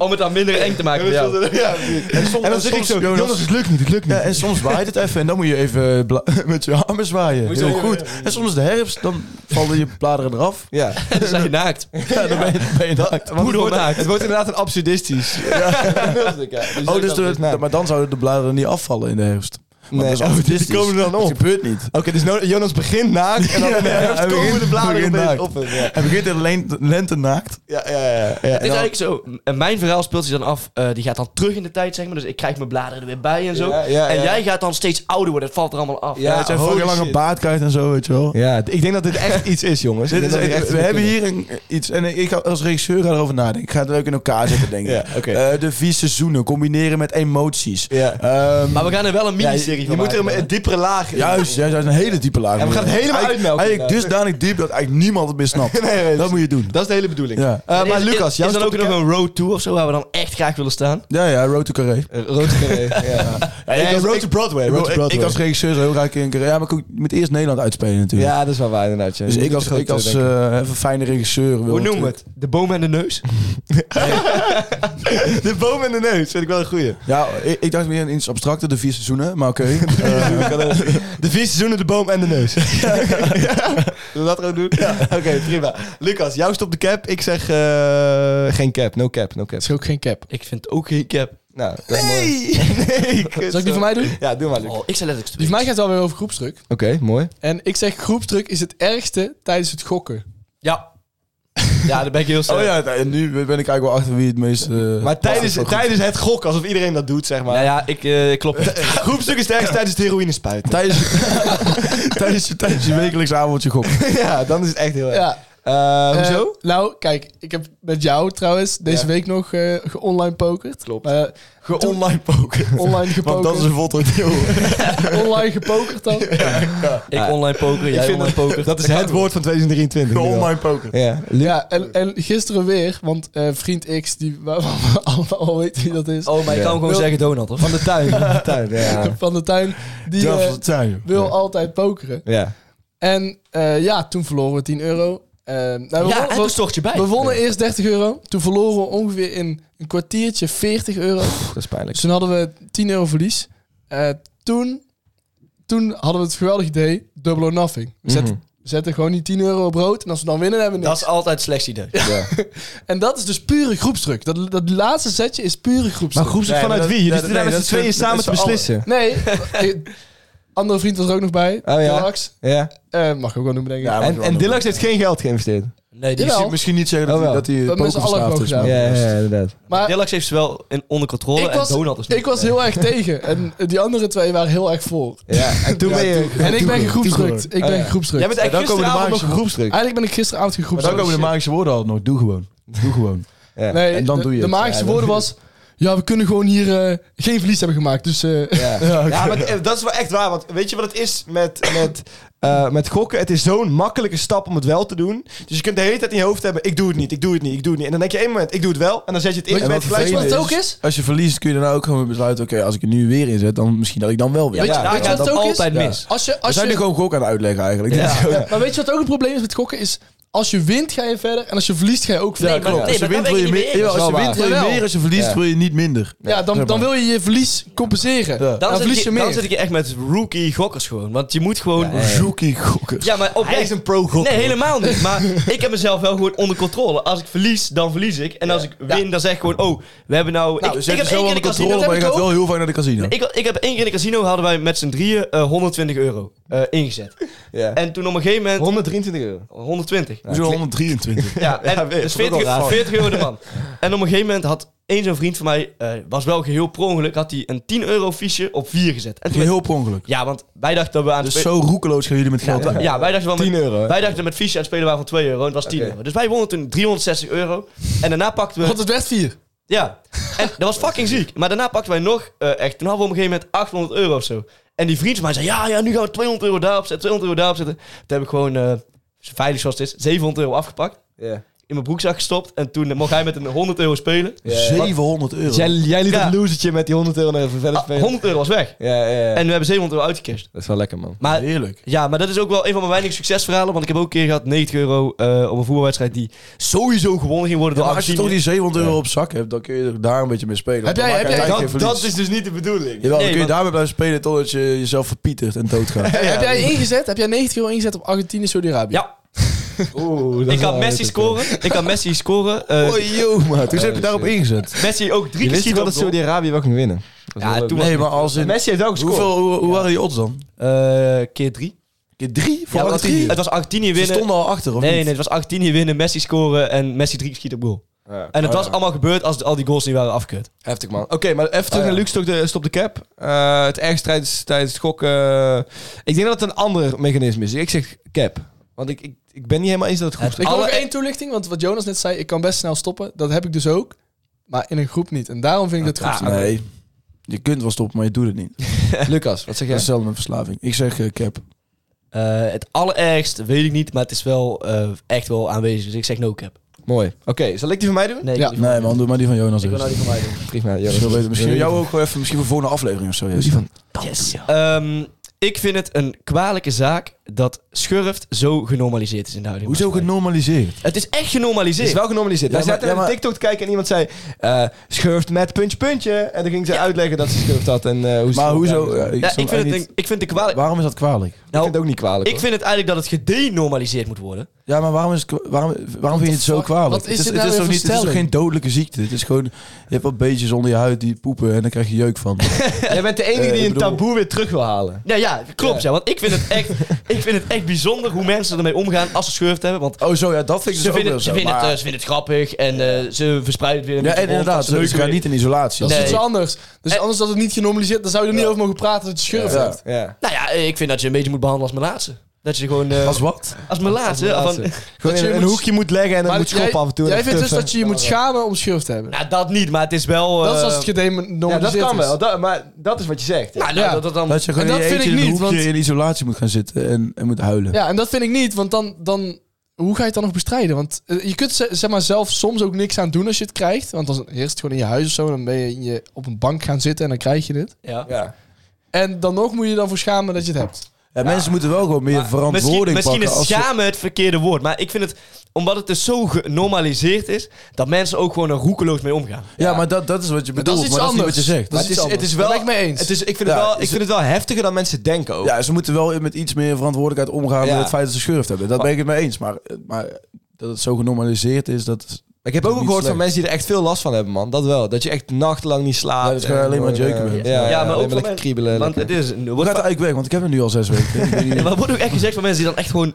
Speaker 4: Om het dan minder eng te maken voor jou.
Speaker 2: Ja, precies. en,
Speaker 3: soms-
Speaker 2: dan zeg ik
Speaker 3: soms,
Speaker 2: zo,
Speaker 3: Jonas-
Speaker 2: Jonas, het lukt niet, het lukt niet.
Speaker 3: Ja, en soms waait het even en dan moet je even bla- met je armen zwaaien. Heel goed. En soms is de herfst, dan vallen je bladeren eraf.
Speaker 2: Ja,
Speaker 4: En dan sta je naakt.
Speaker 3: Ja, dan ben je, ben je naakt.
Speaker 2: want het wordt- Het wordt inderdaad een absurdistisch.
Speaker 3: Oh, dus de,
Speaker 2: Nee.
Speaker 3: maar dan zouden de bladeren niet afvallen in de herfst. Want
Speaker 2: Nee,
Speaker 3: dat is
Speaker 2: oh, dus
Speaker 3: absurdistisch.
Speaker 2: die komen er dan
Speaker 3: Dat
Speaker 2: op.
Speaker 3: gebeurt niet.
Speaker 2: Oké, dus no- Jonas begint naakt en dan in de
Speaker 3: Ja,
Speaker 2: herfst
Speaker 3: hij
Speaker 2: komen
Speaker 3: begint-
Speaker 2: de bladeren opeens
Speaker 3: begint naakt.
Speaker 2: op. hem, Ja,
Speaker 3: Hij begint in de len- lente naakt.
Speaker 2: ja, ja. ja, ja. En
Speaker 4: Het is
Speaker 2: dan-
Speaker 4: eigenlijk zo. En mijn verhaal speelt zich dan af. eh, die gaat dan terug in de tijd, zeg maar. Dus ik krijg mijn bladeren er weer bij en zo.
Speaker 2: Ja, ja,
Speaker 4: En
Speaker 2: ja.
Speaker 4: jij gaat dan steeds ouder worden. Het valt er allemaal af.
Speaker 2: Ja,
Speaker 3: Ja, het zijn
Speaker 2: holy
Speaker 3: fucking lange
Speaker 2: shit.
Speaker 3: baard krijgt en zo, weet je wel.
Speaker 2: Ja, d- ik denk dat dit echt iets is, jongens.
Speaker 3: Dit
Speaker 2: Ik
Speaker 3: is
Speaker 2: denk dat
Speaker 3: echt,
Speaker 2: dit
Speaker 3: we
Speaker 2: iets
Speaker 3: hebben
Speaker 2: is.
Speaker 3: hier een, iets. En ik ga als regisseur ga erover nadenken. Ik ga het leuk in elkaar zetten, denk ik.
Speaker 2: Ja, oké.
Speaker 3: Eh, de vier seizoenen combineren met emoties.
Speaker 2: Ja.
Speaker 3: Ehm,
Speaker 4: Maar we gaan er wel een miniserie
Speaker 2: Je
Speaker 4: van
Speaker 2: moet er
Speaker 4: maken.
Speaker 2: een, een diepere laag in.
Speaker 3: Juist, juist, juist, een hele diepe laag.
Speaker 2: En we gaan het helemaal
Speaker 3: Eigenlijk-
Speaker 2: uitmelken,
Speaker 3: Eigenlijk dusdanig diep dat eigenlijk niemand het meer snapt.
Speaker 2: Nee, nee,
Speaker 3: dat moet je doen.
Speaker 2: Dat is de hele bedoeling.
Speaker 3: Ja.
Speaker 2: Eh, maar
Speaker 4: Is-
Speaker 2: Lucas,
Speaker 4: is,
Speaker 2: jouw
Speaker 4: is dan ook nog
Speaker 2: stopcap?
Speaker 4: een road to of zo waar we dan echt graag willen staan?
Speaker 3: Ja, ja, Road to Carré.
Speaker 2: Eh, Rood gereden, ja.
Speaker 3: ik
Speaker 2: Nee,
Speaker 3: als-
Speaker 2: Road
Speaker 3: ik-
Speaker 2: to Broadway. Road to
Speaker 3: Ik, ik
Speaker 2: Broadway.
Speaker 3: als regisseur zou heel graag in Carré. Ja, maar ik ook- moet eerst Nederland uitspelen natuurlijk.
Speaker 2: Ja, dat is wel waar inderdaad. ja.
Speaker 3: Dus
Speaker 2: Je
Speaker 3: ik
Speaker 2: moet
Speaker 3: als,
Speaker 2: het
Speaker 3: ik
Speaker 2: goed,
Speaker 3: als
Speaker 2: eh,
Speaker 3: eh, even fijne regisseur wil...
Speaker 4: Hoe noemen we het? De boom en de neus?
Speaker 2: denken. eh, De boom en de neus vind ik wel een goeie.
Speaker 3: Ja, ik, ik dacht meer in iets abstracter, de vier seizoenen. Maar oké. Eh,
Speaker 2: De vier seizoenen, de boom en de neus. ja. Zullen we dat gewoon doen? Oké, prima. Lucas, jou stopt de cap. Ik zeg eh, geen cap. No cap, no cap.
Speaker 5: is ook geen cap.
Speaker 4: Ik vind ook geen cap.
Speaker 2: Nou, dat is mooi. nee kut,
Speaker 5: Zal ik die van mij doen?
Speaker 2: Ja, doe maar, Lucas.
Speaker 4: Oh, ik zei letterlijk
Speaker 5: Die van mij gaat wel weer over groepsdruk.
Speaker 2: Oké, mooi.
Speaker 5: En ik zeg groepsdruk is het ergste tijdens het gokken.
Speaker 4: Ja. Ja, daar ben ik heel sterk.
Speaker 3: oh ja, en nu ben ik eigenlijk wel achter wie het meest... eh,
Speaker 2: Maar tijdens,
Speaker 3: past.
Speaker 2: tijdens het gok, alsof iedereen dat doet, zeg maar.
Speaker 4: Nou ja, ik eh, klop.
Speaker 2: Groepstuk is sterk tijdens het heroïne spuiten.
Speaker 3: Tijdens, tijdens, tijdens je wekelijks avondje gok.
Speaker 2: ja, dan is het echt heel erg.
Speaker 5: Ja.
Speaker 2: Eh,
Speaker 4: Oh,
Speaker 5: Eh,
Speaker 2: hoezo?
Speaker 5: nou, kijk, ik heb met jou trouwens deze
Speaker 2: Ja.
Speaker 5: week nog eh ge-online pokerd.
Speaker 2: Klopt.
Speaker 5: Eh,
Speaker 3: Online poker.
Speaker 5: online
Speaker 3: Want
Speaker 5: gepokerd.
Speaker 3: dat is een voltooid
Speaker 5: Online gepokerd dan.
Speaker 4: Ik online poker, jij
Speaker 2: vind
Speaker 4: online poker.
Speaker 2: Dat is het woord van 2023. nu wel.
Speaker 3: Online poker.
Speaker 2: Ja.
Speaker 5: Ja, en, en gisteren weer, want eh, vriend X, die, waarvan we allemaal al weten wie dat is,
Speaker 4: Oh, maar ik kan
Speaker 2: Ja.
Speaker 4: gewoon
Speaker 5: Wil-
Speaker 4: zeggen Donald, of?
Speaker 2: Van de tuin. Van de tuin, ja.
Speaker 5: van de tuin, die
Speaker 3: Ja,
Speaker 5: eh,
Speaker 3: van de tuin.
Speaker 5: wil altijd pokeren.
Speaker 2: ja.
Speaker 5: En eh, ja, toen verloren we 10 euro. Eh, nou, we,
Speaker 4: Ja,
Speaker 5: wonnen-
Speaker 4: en
Speaker 5: we-
Speaker 4: toen stort je bij.
Speaker 5: we wonnen eerst 30 euro, toen verloren we ongeveer in een kwartiertje 40 euro.
Speaker 2: Dat is pijnlijk.
Speaker 5: Dus toen hadden we 10 euro verlies. Eh, toen, toen hadden we het geweldige idee, double or nothing. We zetten,
Speaker 2: Mhm.
Speaker 5: we zetten gewoon die 10 euro op rood en als we dan winnen, dan hebben we
Speaker 4: Dat
Speaker 5: niks.
Speaker 4: is altijd slecht idee.
Speaker 5: En dat is dus pure groepsdruk. Dat, dat laatste setje is pure groepsdruk.
Speaker 2: Maar groepstuk
Speaker 3: Nee,
Speaker 2: vanuit
Speaker 3: dat-
Speaker 2: wie? Jullie
Speaker 3: dat-
Speaker 2: zitten daar
Speaker 3: nee,
Speaker 2: met
Speaker 3: dat
Speaker 2: z'n
Speaker 3: is-
Speaker 2: tweeën
Speaker 3: dat
Speaker 2: samen
Speaker 3: is
Speaker 2: te
Speaker 3: met z'n
Speaker 2: beslissen.
Speaker 5: Nee, eh, andere vriend was er ook nog bij.
Speaker 2: Oh ja.
Speaker 5: Dillax.
Speaker 2: Ja.
Speaker 5: Eh, mag ik ook wel noemen, denk ik.
Speaker 3: Ja,
Speaker 2: En, en Dillax heeft geen geld geïnvesteerd.
Speaker 4: Nee, die
Speaker 5: Jawel.
Speaker 4: is-
Speaker 3: Misschien- Misschien niet zeggen dat
Speaker 2: Oh,
Speaker 3: hij-
Speaker 2: wel.
Speaker 3: dat hij
Speaker 5: Dat
Speaker 3: poker
Speaker 5: mensen alle
Speaker 3: verslaafd
Speaker 5: gewoon
Speaker 3: is.
Speaker 5: gedaan.
Speaker 3: maar-
Speaker 2: inderdaad.
Speaker 5: maar
Speaker 4: Dillax heeft ze wel in, onder controle
Speaker 5: ik
Speaker 4: en
Speaker 5: was,
Speaker 4: Donald is niet.
Speaker 5: ik was heel erg tegen. En die andere twee waren heel erg voor.
Speaker 2: Ja. En toen ben je...
Speaker 5: En ik ben
Speaker 3: toegehoord.
Speaker 5: gegroepsdrukt. Ik
Speaker 3: Ah,
Speaker 5: ben gegroepsdrukt.
Speaker 4: Jij bent
Speaker 2: En dan komen
Speaker 4: eigenlijk
Speaker 2: de Ah,
Speaker 4: gisteravond
Speaker 2: magische
Speaker 4: nog...
Speaker 2: groepsdruk.
Speaker 5: Eigenlijk ben ik gisteravond
Speaker 3: Maar dan
Speaker 5: gegroepsdrukt.
Speaker 3: komen de magische woorden al nog. Doe gewoon. Doe gewoon.
Speaker 5: Nee,
Speaker 3: en dan
Speaker 5: de,
Speaker 3: doe je
Speaker 5: De
Speaker 3: het.
Speaker 5: magische
Speaker 3: Ja, dan
Speaker 5: woorden
Speaker 3: doe
Speaker 5: was... Ja, we kunnen gewoon hier eh, geen verlies hebben gemaakt. Dus eh,
Speaker 2: Ja. ja, maar eh, dat is wel echt waar. Want weet je wat het is met, met, eh, met gokken? Het is zo'n makkelijke stap om het wel te doen. Dus je kunt de hele tijd in je hoofd hebben: ik doe het niet, ik doe het niet, ik doe het niet. En dan denk je één moment: ik doe het wel. En dan zet je het in.
Speaker 5: Weet je
Speaker 2: en
Speaker 5: wat
Speaker 2: ben je
Speaker 5: vervelend
Speaker 2: gelijk-
Speaker 5: is? ook is?
Speaker 3: Als je verliest kun je daarna ook gewoon weer besluiten... oké, als ik er nu weer in zet, dan misschien dat ik dan wel weer.
Speaker 4: Weet je,
Speaker 2: Ja,
Speaker 4: daar
Speaker 5: weet je
Speaker 4: gaat
Speaker 5: wat
Speaker 4: het
Speaker 5: het ook is?
Speaker 4: altijd
Speaker 3: Ja.
Speaker 4: mis.
Speaker 5: als je...
Speaker 3: We
Speaker 5: Als
Speaker 3: zijn
Speaker 5: je
Speaker 3: nu gewoon gok aan het uitleggen eigenlijk.
Speaker 4: Ja.
Speaker 3: Dit is gewoon-
Speaker 5: Maar weet je wat ook het probleem is met gokken? Is als je wint ga je verder. En als je verliest ga je ook verder.
Speaker 4: Nee, maar-
Speaker 3: Als Dus je
Speaker 4: daar
Speaker 3: wint
Speaker 4: ben
Speaker 3: wil
Speaker 4: ik
Speaker 3: je
Speaker 4: niet mee
Speaker 3: meer,
Speaker 4: eens.
Speaker 3: Ja, als je
Speaker 5: Dat is
Speaker 3: wint
Speaker 5: wel
Speaker 3: wil je
Speaker 5: waar.
Speaker 3: meer, als je verliest
Speaker 2: Ja.
Speaker 3: wil je niet minder.
Speaker 5: ja, dan, dan wil je je verlies compenseren.
Speaker 3: Ja.
Speaker 5: Dan,
Speaker 4: Dan, zit
Speaker 5: verlies
Speaker 4: ik,
Speaker 5: je meer.
Speaker 4: dan zit ik echt met rookie gokkers gewoon. Want je moet gewoon... Ja,
Speaker 3: Zoekie gokken.
Speaker 4: maar op
Speaker 2: Hij is een pro-gokker.
Speaker 4: Nee, helemaal niet. Maar ik heb mezelf wel gewoon onder controle. Als ik verlies, dan verlies ik. En als ik win, dan zeg ik gewoon... Oh, we hebben nou...
Speaker 3: Nou,
Speaker 4: ik,
Speaker 3: ze
Speaker 4: ik
Speaker 3: hebben
Speaker 4: heb één keer
Speaker 3: wel
Speaker 4: in de
Speaker 3: een
Speaker 4: casino...
Speaker 3: controle, maar je
Speaker 4: heb
Speaker 3: gaat
Speaker 4: ik
Speaker 3: wel
Speaker 4: ook-
Speaker 3: heel vaak naar de casino.
Speaker 4: Ik, ik heb één keer in de casino hadden wij met z'n drieën eh, 120 euro eh, ingezet.
Speaker 2: Ja.
Speaker 4: En toen op een gegeven moment...
Speaker 2: 123 euro.
Speaker 4: 120.
Speaker 3: Hoezo 123?
Speaker 4: Ja, en
Speaker 2: Ja, weet-
Speaker 4: dus
Speaker 2: vond ik wel
Speaker 4: 40,
Speaker 2: raar.
Speaker 4: 40 euro de man. En op een gegeven moment had één zo'n vriend van mij, eh, was wel geheel per ongeluk, had hij een 10 euro fiche op 4 gezet. En toen werd-
Speaker 3: Heel per ongeluk.
Speaker 4: ja, want wij dachten dat we aan het
Speaker 3: Dus
Speaker 4: spe-
Speaker 3: zo roekeloos gaan jullie met geld.
Speaker 4: ja,
Speaker 3: om.
Speaker 4: ja, wij dachten wel met,
Speaker 2: 10 euro, hè?
Speaker 4: Wij dachten met fiche aan het spelen waren van 2 euro en het was 10
Speaker 2: Oké.
Speaker 4: euro. Dus wij wonnen toen 360 euro. En daarna pakten we...
Speaker 5: Want het werd vier.
Speaker 4: Ja. En dat was fucking ziek. Maar daarna pakten wij nog eh, echt... Toen hadden we op een gegeven moment 800 euro of zo. En die vriend van mij zei, ja, ja, nu gaan we 200 euro daarop zetten, 200 euro daarop zetten. Toen heb ik gewoon, eh, veilig zoals het is, 700 euro afgepakt.
Speaker 2: Ja.
Speaker 4: In mijn broekzak gestopt. En toen mocht hij met een 100 euro spelen.
Speaker 3: 700 euro.
Speaker 2: Dus jij, jij liet
Speaker 4: Ja.
Speaker 2: dat losertje met die 100 euro nog even verder
Speaker 4: Ah,
Speaker 2: spelen.
Speaker 4: 100 euro was weg.
Speaker 2: Ja, ja, ja.
Speaker 4: En we hebben 700 euro uitgecashed.
Speaker 2: Dat is wel lekker, man.
Speaker 4: Maar
Speaker 3: Heerlijk.
Speaker 4: Ja, maar dat is ook wel een van mijn weinige succesverhalen. Want ik heb ook een keer gehad 90 euro eh, op een voerwedstrijd die sowieso gewonnen ging worden door
Speaker 3: Maar als je toch
Speaker 4: Argentinië.
Speaker 3: die 700 euro op zak hebt, dan kun je daar een beetje mee spelen.
Speaker 5: Heb
Speaker 3: Dan
Speaker 5: jij-
Speaker 3: maak
Speaker 5: heb
Speaker 3: je
Speaker 5: jij-
Speaker 3: eigenlijk geen verlies.
Speaker 2: dus niet de bedoeling.
Speaker 3: Jawel, dan
Speaker 4: Nee,
Speaker 3: kun je
Speaker 4: want-
Speaker 3: daarmee blijven spelen totdat je jezelf verpietert en doodgaat.
Speaker 5: Heb jij ingezet? Heb jij 90 euro ingezet op Argentinië, Saudi-Arabië?
Speaker 4: Ja,
Speaker 2: Oeh, dat
Speaker 4: ik
Speaker 2: is wel
Speaker 4: kan Messi
Speaker 2: leuk.
Speaker 4: scoren. Ik kan Messi scoren. Eh,
Speaker 3: joh, maat. Hoe heb je daarop ingezet?
Speaker 4: Messi ook drie
Speaker 2: Je
Speaker 4: keer
Speaker 2: wist je
Speaker 4: schieten
Speaker 2: wel
Speaker 4: op
Speaker 2: dat
Speaker 4: goal.
Speaker 2: Saudi-Arabië wel ging winnen? Dat is
Speaker 4: Ja,
Speaker 2: wel leuk.
Speaker 4: toen
Speaker 3: Nee, maar als in...
Speaker 2: Messi heeft ook gescoord.
Speaker 3: Hoeveel, hoe, hoe waren die odds dan?
Speaker 4: Eh, keer drie.
Speaker 3: Keer drie? Voor
Speaker 4: Ja, het was-
Speaker 3: Argentinië?
Speaker 4: Het was Argentinië
Speaker 3: Ze
Speaker 4: winnen.
Speaker 3: stonden al achter, of
Speaker 4: nee, nee,
Speaker 3: niet?
Speaker 4: het was Argentinië winnen, Messi scoren en Messi drie keer schieten op goal.
Speaker 2: Ja.
Speaker 4: En het was allemaal gebeurd als al die goals niet waren afgekeurd.
Speaker 2: Heftig, man. Oké, maar even terug
Speaker 4: Eh.
Speaker 3: Ah, ja.
Speaker 2: naar Luke stop de, stop de cap. Eh, het ergste tijdens, tijdens het gokken... eh, ik denk dat het een ander mechanisme is. Ik zeg cap. Want ik, ik, ik ben niet helemaal eens dat het goed is.
Speaker 5: Ik wil
Speaker 4: Alle-
Speaker 5: nog één toelichting, want wat Jonas net zei, ik kan best snel stoppen. Dat heb ik dus ook. Maar in een groep niet. En daarom vind ik dat goed.
Speaker 3: Nee. Je kunt wel stoppen, maar je doet het niet. Dat
Speaker 2: Lucas, wat zeg
Speaker 3: is
Speaker 2: jij?
Speaker 3: hetzelfde met verslaving. Ik zeg eh, cap.
Speaker 4: Dus, Eh, het allerergst weet ik niet, maar het is wel eh, echt wel aanwezig. Dus ik zeg no cap.
Speaker 2: Mooi. Oké, zal ik die van mij doen?
Speaker 4: Nee, ik
Speaker 5: Ja.
Speaker 4: wil die van-
Speaker 3: Nee man, doe maar die van Jonas
Speaker 4: ik wil
Speaker 3: eerst.
Speaker 4: nou die van mij doen.
Speaker 2: Prima,
Speaker 3: Misschien wel
Speaker 2: Jonas.
Speaker 3: beter. Misschien jou ook wel even misschien voor de volgende aflevering of zo. Jesse.
Speaker 4: Yes. Ehm, ik vind het een kwalijke zaak dat schurft zo genormaliseerd is in de huidige
Speaker 3: Hoezo
Speaker 4: maatschappij.
Speaker 3: genormaliseerd?
Speaker 4: Het is echt
Speaker 2: Het is
Speaker 4: genormaliseerd.
Speaker 2: wel genormaliseerd.
Speaker 3: Ja,
Speaker 2: Wij
Speaker 3: maar-
Speaker 2: zaten
Speaker 3: ja,
Speaker 2: naar
Speaker 3: maar-
Speaker 2: TikTok te kijken en iemand zei... eh schurft met puntje, puntje. En dan ging ze uitleggen dat ze schurft had en eh, hoe ze...
Speaker 3: Maar hoezo? Ja,
Speaker 4: Ja,
Speaker 3: snap
Speaker 4: ik, vind het
Speaker 3: eigenlijk
Speaker 4: een- ik vind de kwalijk...
Speaker 3: niet- Waarom is dat kwalijk?
Speaker 2: Ik
Speaker 4: Nou,
Speaker 2: vind het ook niet kwalijk,
Speaker 4: ik vind het eigenlijk dat het gedenormaliseerd moet worden.
Speaker 3: Ja, maar waarom, is het, kwa- waarom, waarom vind je het zo
Speaker 5: fuck?
Speaker 3: kwalijk?
Speaker 5: Wat
Speaker 3: het
Speaker 5: is dit
Speaker 3: het
Speaker 5: nou weer
Speaker 3: toch
Speaker 5: voor
Speaker 3: niet, het is toch
Speaker 5: stelling?
Speaker 3: geen dodelijke ziekte. Het is gewoon, je hebt wat beestjes onder je huid die poepen en dan krijg je jeuk van.
Speaker 2: hoor. Jij bent de enige
Speaker 3: Eh,
Speaker 2: die
Speaker 3: ik
Speaker 2: een
Speaker 3: bedoel-
Speaker 2: taboe weer terug wil halen.
Speaker 4: Ja, ja klopt. Ja. want ik vind, het echt, ik vind het echt bijzonder hoe mensen ermee omgaan als ze schurft hebben. Want
Speaker 3: Oh zo, ja, dat vind ik dus
Speaker 4: ze
Speaker 3: ook wel
Speaker 4: vinden, ze,
Speaker 3: zo.
Speaker 4: vinden
Speaker 3: maar-
Speaker 4: het, eh, ze vinden het grappig en eh, ze verspreiden het weer.
Speaker 3: ja, en inderdaad,
Speaker 4: ze
Speaker 3: ze gaan niet in isolatie.
Speaker 5: Dat is
Speaker 4: Nee.
Speaker 5: iets anders. Dus
Speaker 4: En-
Speaker 5: anders dat het niet genormaliseerd, dan zou je er niet over mogen praten dat je schurft
Speaker 3: Ja.
Speaker 5: bent.
Speaker 2: Ja.
Speaker 4: Nou ja, ik vind dat je een beetje moet behandelen als melaatse. Dat je gewoon... eh,
Speaker 3: Als wat?
Speaker 4: als melaatse.
Speaker 2: Laat
Speaker 4: Van,
Speaker 2: ze. Gewoon
Speaker 5: je
Speaker 2: in een
Speaker 5: moet-
Speaker 2: hoekje moet leggen en dan
Speaker 5: Maar
Speaker 2: moet
Speaker 5: jij,
Speaker 2: schoppen af en toe. en
Speaker 5: jij
Speaker 2: even
Speaker 5: vindt dus
Speaker 2: tuffen.
Speaker 5: dat je je moet schamen om schurft te hebben.
Speaker 4: nou, dat niet, maar het is wel...
Speaker 5: dat is als
Speaker 4: eh,
Speaker 5: het gedenormaliseerd
Speaker 2: Ja, dat kan
Speaker 5: is.
Speaker 2: wel. Dat, maar dat is wat je zegt.
Speaker 4: nou,
Speaker 5: ja.
Speaker 4: dat, dat dan,
Speaker 3: Dat je gewoon
Speaker 5: En
Speaker 3: in
Speaker 5: dat
Speaker 3: je
Speaker 5: vind
Speaker 3: eentje
Speaker 5: ik
Speaker 3: in een
Speaker 5: niet,
Speaker 3: hoekje
Speaker 5: want-
Speaker 3: in isolatie moet gaan zitten en, en moet huilen.
Speaker 5: Ja, en dat vind ik niet, want dan, dan hoe ga je het dan nog bestrijden? Want eh, je kunt ze- zeg maar, zelf soms ook niks aan doen als je het krijgt. Want dan heerst het gewoon in je huis of zo. Dan ben je, in je op een bank gaan zitten en dan krijg je dit.
Speaker 4: ja.
Speaker 2: Ja.
Speaker 5: En dan nog moet je je dan voor schamen dat je het hebt.
Speaker 3: Ja, mensen moeten wel gewoon meer
Speaker 4: Misschien,
Speaker 3: verantwoording
Speaker 4: misschien
Speaker 3: pakken.
Speaker 4: is
Speaker 3: als ze-
Speaker 4: schamen het verkeerde woord. Maar ik vind het, omdat het dus zo genormaliseerd is, dat mensen ook gewoon er roekeloos mee omgaan.
Speaker 3: Ja, maar dat, dat is wat je
Speaker 5: Maar dat
Speaker 3: bedoelt,
Speaker 5: is iets
Speaker 3: maar dat is
Speaker 5: anders.
Speaker 3: niet wat je zegt.
Speaker 5: Dat
Speaker 2: Maar
Speaker 5: is
Speaker 2: het is,
Speaker 5: iets
Speaker 2: het
Speaker 5: anders.
Speaker 2: is wel...
Speaker 5: Daar ben ik mee eens.
Speaker 2: Het is, ik vind, het
Speaker 3: Ja,
Speaker 2: wel,
Speaker 3: is
Speaker 2: ik vind het wel heftiger dan mensen denken ook.
Speaker 3: Ja, ze moeten wel met iets meer verantwoordelijkheid omgaan
Speaker 2: Ja.
Speaker 3: met het feit dat ze schurft hebben. Dat ben ik het mee eens. Maar, maar dat het zo genormaliseerd is, dat is,
Speaker 2: Ik heb ook
Speaker 3: Niet
Speaker 2: gehoord van
Speaker 3: slecht.
Speaker 2: mensen die er echt veel last van hebben, man. Dat wel. Dat je echt nachtenlang niet slaapt.
Speaker 3: Ja, dat is gewoon
Speaker 2: En
Speaker 3: alleen maar
Speaker 2: gewoon,
Speaker 3: jeuken
Speaker 2: eh,
Speaker 3: bent.
Speaker 2: Ja,
Speaker 4: Ja,
Speaker 2: ja,
Speaker 4: maar ook
Speaker 2: alleen
Speaker 4: voor
Speaker 2: lekker
Speaker 4: mij-
Speaker 2: kriebelen.
Speaker 4: Want het
Speaker 2: lekker.
Speaker 4: is...
Speaker 3: Hoe gaat
Speaker 4: Wordt,
Speaker 3: het eigenlijk weg? Want ik heb hem nu al zes weken. Ik weet niet.
Speaker 4: maar wordt ook echt gezegd van mensen die dan echt gewoon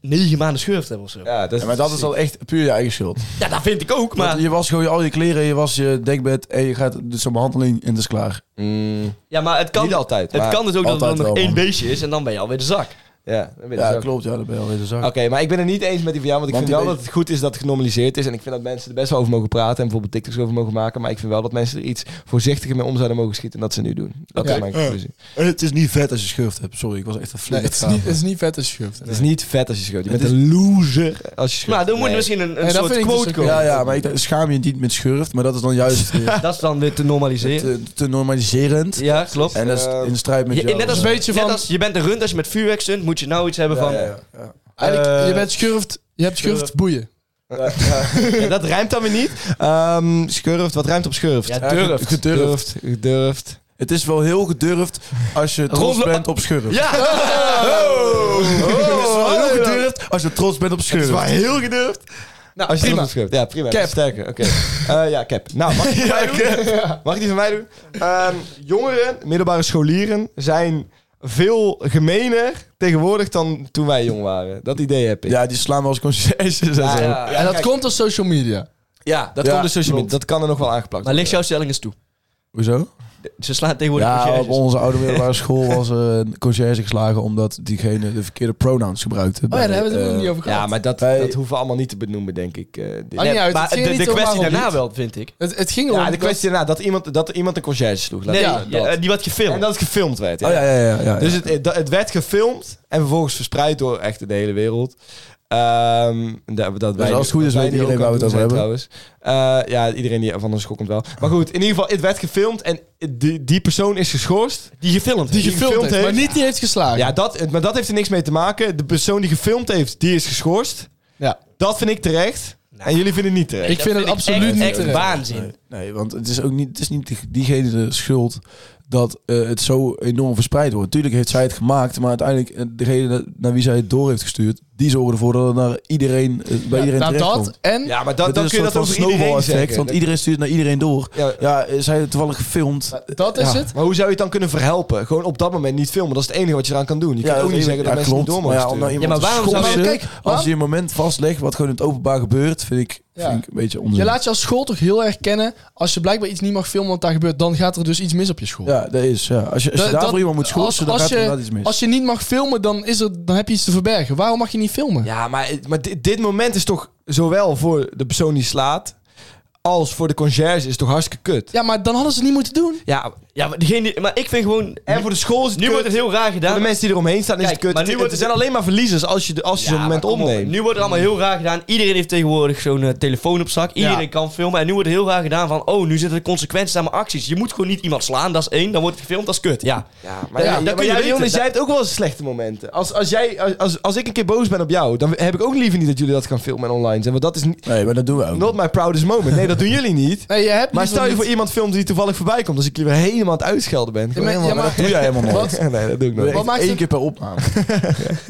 Speaker 4: negen maanden schurft hebben of zo. Ja,
Speaker 2: Ja, dat is,
Speaker 3: Ja, maar dat is dan echt puur je eigen schuld.
Speaker 4: dat vind ik ook,
Speaker 3: Maar,
Speaker 4: maar...
Speaker 3: je was gewoon al je kleren, je was je dekbed en je gaat doet zo'n behandeling en het is klaar.
Speaker 2: Mm,
Speaker 4: Ja, maar het kan,
Speaker 2: niet altijd,
Speaker 4: het
Speaker 2: maar
Speaker 4: kan dus ook dat het dan
Speaker 3: altijd
Speaker 4: nog
Speaker 3: wel,
Speaker 4: één
Speaker 3: man.
Speaker 4: beestje is en dan ben je alweer de zak.
Speaker 2: ja, dat weet ik
Speaker 3: Ja,
Speaker 2: ook.
Speaker 3: klopt. Ja, dat ben je alweer de zak.
Speaker 2: Oké, maar ik ben het niet eens met die van jou, want ik vind
Speaker 3: Want die
Speaker 2: wel dat
Speaker 3: weet-
Speaker 2: het goed is dat het genormaliseerd is. En ik vind dat mensen er best wel over mogen praten en bijvoorbeeld TikToks over mogen maken. Maar ik vind wel dat mensen er iets voorzichtiger mee om zouden mogen schieten dan dat ze nu doen. Dat
Speaker 5: Oké.
Speaker 2: is mijn conclusie.
Speaker 3: Eh, Het is niet vet als je schurft hebt. Sorry, ik was echt een
Speaker 5: Nee,
Speaker 3: flink.
Speaker 5: het, is niet, het is niet vet als schurft.
Speaker 2: Het is niet vet als je schurft. Je
Speaker 3: Het
Speaker 2: bent een loser als je schurft.
Speaker 4: Maar dan moet
Speaker 2: Nee.
Speaker 4: er misschien een, een
Speaker 5: Nee, dat
Speaker 4: soort
Speaker 5: vind ik dus
Speaker 4: quote
Speaker 5: ook-
Speaker 4: komen.
Speaker 3: ja, ja, maar ik dacht, schaam je niet met schurft, maar dat is dan juist eh,
Speaker 4: Dat is dan weer te normaliseren.
Speaker 3: te, te normaliserend.
Speaker 4: ja, klopt.
Speaker 3: En dat is
Speaker 2: Eh,
Speaker 3: in strijd met
Speaker 4: Je-
Speaker 3: jou.
Speaker 4: net als,
Speaker 5: een beetje
Speaker 4: net
Speaker 5: van-
Speaker 4: als je bent een rund, als je met vuurwerk stunt, moet je nou iets hebben van...
Speaker 3: Ja, ja.
Speaker 5: Eigenlijk,
Speaker 4: Eh,
Speaker 5: je bent schurft, je hebt schurft boeien.
Speaker 2: Ja, dat rijmt dan weer niet. Ehm
Speaker 3: Dus
Speaker 2: schurft, wat rijmt op schurft?
Speaker 4: Ja,
Speaker 3: durft.
Speaker 2: Gedurfd. Gedurfd.
Speaker 3: Het is wel heel gedurfd als je trots
Speaker 4: Rondlo-
Speaker 3: bent op schurft.
Speaker 4: Ja!
Speaker 3: Het is
Speaker 5: Oh,
Speaker 3: wel heel gedurfd als je trots bent op schurft.
Speaker 2: heel gedurfd. Nou, als je
Speaker 5: prima.
Speaker 2: prima. schurft. Ja, prima.
Speaker 5: Cap.
Speaker 2: Sterker, oké. Eh, ja, cap. Nou, mag ik die van mij doen? Mag ik die van mij doen? Ehm, jongeren, middelbare scholieren, zijn veel gemener tegenwoordig dan toen wij jong waren. Dat idee heb ik.
Speaker 3: Ja, die slaan wel als conciërges en zo.
Speaker 5: en dat
Speaker 2: kijk.
Speaker 5: komt door social media.
Speaker 2: Ja, dat
Speaker 3: Ja,
Speaker 2: komt dus social media.
Speaker 3: klopt.
Speaker 2: Dat kan er nog wel aangepakt
Speaker 4: Maar ligt jouw stelling eens toe.
Speaker 3: Hoezo?
Speaker 4: Ze slaan tegenwoordig
Speaker 3: Ja, op
Speaker 4: conciërges.
Speaker 3: onze oude middelbare school was er een conciërge geslagen omdat diegene de verkeerde pronouns gebruikte.
Speaker 5: Oh ja, daar hebben we het
Speaker 3: eh,
Speaker 5: nog niet over gehad.
Speaker 2: Ja, maar dat,
Speaker 3: Bij-
Speaker 2: dat hoeven we allemaal niet te benoemen, denk ik. eh, dit-
Speaker 5: Maakt niet uit,
Speaker 4: maar
Speaker 5: het ging
Speaker 4: de,
Speaker 5: er
Speaker 4: de
Speaker 5: niet om
Speaker 4: kwestie
Speaker 5: waarom
Speaker 4: daarna
Speaker 5: niet.
Speaker 4: wel, vind ik.
Speaker 5: Het, het ging erom...
Speaker 2: Ja, de kwestie daarna, dat iemand, dat iemand een conciërge sloeg. Laat-
Speaker 4: Nee,
Speaker 5: Ja,
Speaker 4: ja, eh,
Speaker 2: dat.
Speaker 4: die wat gefilmd.
Speaker 2: En dat het gefilmd werd. ja.
Speaker 3: Oh ja, ja, ja. ja, ja.
Speaker 2: Dus het, het, het werd gefilmd en vervolgens verspreid door echt de hele wereld. Ehm, dat, dat wij,
Speaker 3: als het goed is,
Speaker 2: dat wij
Speaker 3: weet
Speaker 2: die
Speaker 3: iedereen
Speaker 2: ook
Speaker 3: waar we het
Speaker 2: aan
Speaker 3: over
Speaker 2: doen zijn Trouwens. Eh, ja, iedereen die van de schok komt wel. Maar goed, in ieder geval, het werd gefilmd en die, die persoon is geschorst.
Speaker 4: die gefilmd.
Speaker 5: die
Speaker 4: heeft.
Speaker 5: gefilmd heeft, maar niet die heeft geslagen.
Speaker 2: Ja, dat, maar dat heeft er niks mee te maken. De persoon die gefilmd heeft, die is geschorst.
Speaker 5: Ja.
Speaker 2: Dat vind ik terecht.
Speaker 4: Nou.
Speaker 2: En jullie vinden het niet terecht.
Speaker 5: Ik vind het absoluut
Speaker 4: echt,
Speaker 5: niet
Speaker 4: echt
Speaker 5: terecht.
Speaker 4: waanzin.
Speaker 3: Nee, nee, want het is ook niet, het is niet die- diegene de schuld dat eh, het zo enorm verspreid wordt. Tuurlijk heeft zij het gemaakt, maar uiteindelijk eh, degene dat- naar wie zij het door heeft gestuurd, die zorgen ervoor dat het naar iedereen, eh, bij
Speaker 5: Ja,
Speaker 3: iedereen
Speaker 5: nou,
Speaker 3: terecht
Speaker 5: dat
Speaker 3: komt.
Speaker 5: en...
Speaker 2: Ja, maar dan, dan
Speaker 3: Het is een
Speaker 2: kun je
Speaker 3: soort
Speaker 2: dat
Speaker 3: van
Speaker 2: over iedereen
Speaker 3: snowball-effect,
Speaker 2: zeggen.
Speaker 3: want iedereen stuurt naar iedereen door.
Speaker 2: Ja.
Speaker 3: Ja, eh, zij hebben toevallig gefilmd. Eh,
Speaker 5: Dat is
Speaker 2: Ja.
Speaker 5: het.
Speaker 2: Maar hoe zou je het dan kunnen verhelpen? Gewoon op dat moment niet filmen. Dat is het enige wat je eraan kan doen. Je
Speaker 3: Ja,
Speaker 2: kan ook niet
Speaker 3: is-
Speaker 2: zeggen dat
Speaker 3: ja,
Speaker 2: mensen niet door
Speaker 3: Maar
Speaker 2: mogen
Speaker 3: ja, om nou
Speaker 2: sturen.
Speaker 3: iemand
Speaker 4: Ja, maar
Speaker 3: te
Speaker 4: waarom zou je-
Speaker 3: schorsen,
Speaker 5: Kijk,
Speaker 3: als
Speaker 5: waarom-
Speaker 3: je een moment vastlegt wat gewoon in het openbaar gebeurt, vind ik,
Speaker 5: Ja.
Speaker 3: vind ik een beetje onzin.
Speaker 5: Je laat je als school toch heel erg kennen. Als je blijkbaar iets niet mag filmen wat daar gebeurt, dan gaat er dus iets mis op je school.
Speaker 3: Ja, dat is. Ja. Als je, als je
Speaker 5: Dat-
Speaker 3: daarvoor
Speaker 5: dat-
Speaker 3: iemand moet
Speaker 5: als-
Speaker 3: schorsen, dan
Speaker 5: als
Speaker 3: gaat er
Speaker 5: je-
Speaker 3: inderdaad iets mis.
Speaker 5: Als je niet mag filmen, dan, is er, dan heb je iets te verbergen. Waarom mag je niet filmen?
Speaker 2: Ja, maar, maar dit, dit moment is toch zowel voor de persoon die slaat... als voor de conciërge is het toch hartstikke kut.
Speaker 5: Ja, maar dan hadden ze het niet moeten doen.
Speaker 2: Ja,
Speaker 4: Ja, maar, degene, die- maar ik vind gewoon...
Speaker 2: en voor de school is het
Speaker 4: Nu
Speaker 2: kut.
Speaker 4: wordt het heel raar
Speaker 2: Voor de
Speaker 4: gedaan.
Speaker 2: mensen die eromheen staan is
Speaker 4: Kijk,
Speaker 2: het kut.
Speaker 4: maar nu
Speaker 2: Het-
Speaker 4: wordt
Speaker 2: het
Speaker 4: het-
Speaker 2: zijn alleen maar verliezers als je, de- als je zo'n moment
Speaker 4: maar kom op.
Speaker 2: opneemt.
Speaker 4: Nu wordt het allemaal heel raar gedaan. Iedereen heeft tegenwoordig zo'n eh, telefoon op zak. Iedereen
Speaker 5: Ja.
Speaker 4: kan filmen. En nu wordt het heel raar gedaan van... Oh, nu zitten er consequenties aan mijn acties. Je moet gewoon niet iemand slaan. Dat is één. Dan wordt het gefilmd. Dat is kut. Ja.
Speaker 2: Ja, maar,
Speaker 4: Ja,
Speaker 2: ja,
Speaker 4: dat
Speaker 2: maar
Speaker 4: kun je
Speaker 2: jij,
Speaker 4: weten.
Speaker 2: Jonas, jij hebt ook wel eens slechte momenten. Als, als, jij, als- als, als ik een keer boos ben op jou, dan heb ik ook liever niet dat jullie dat gaan filmen en online zijn. Want dat is niet-
Speaker 3: Nee, maar dat doen we ook.
Speaker 2: not my proudest moment. Nee, dat doen jullie niet.
Speaker 5: Nee, je hebt
Speaker 2: Maar
Speaker 5: liever
Speaker 2: stel je
Speaker 5: niet-
Speaker 2: voor iemand filmt die toevallig voorbij komt, als ik je weer helemaal aan het uitschelden ben.
Speaker 5: Ja, maar- ja, maar-
Speaker 3: doe jij helemaal nooit.
Speaker 5: Wat?
Speaker 2: Nee, dat doe ik
Speaker 3: Doe je
Speaker 2: nooit.
Speaker 3: echt
Speaker 5: maakt
Speaker 3: één
Speaker 5: het-
Speaker 3: keer per opname.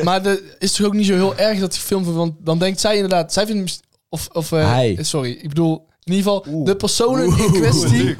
Speaker 5: Maar de, is toch ook niet zo heel erg dat gefilmd wordt? Want dan denkt zij inderdaad... Zij vindt... hem- Of, of, eh,
Speaker 2: Hij.
Speaker 5: Sorry, ik bedoel... In ieder geval, de personen in kwestie...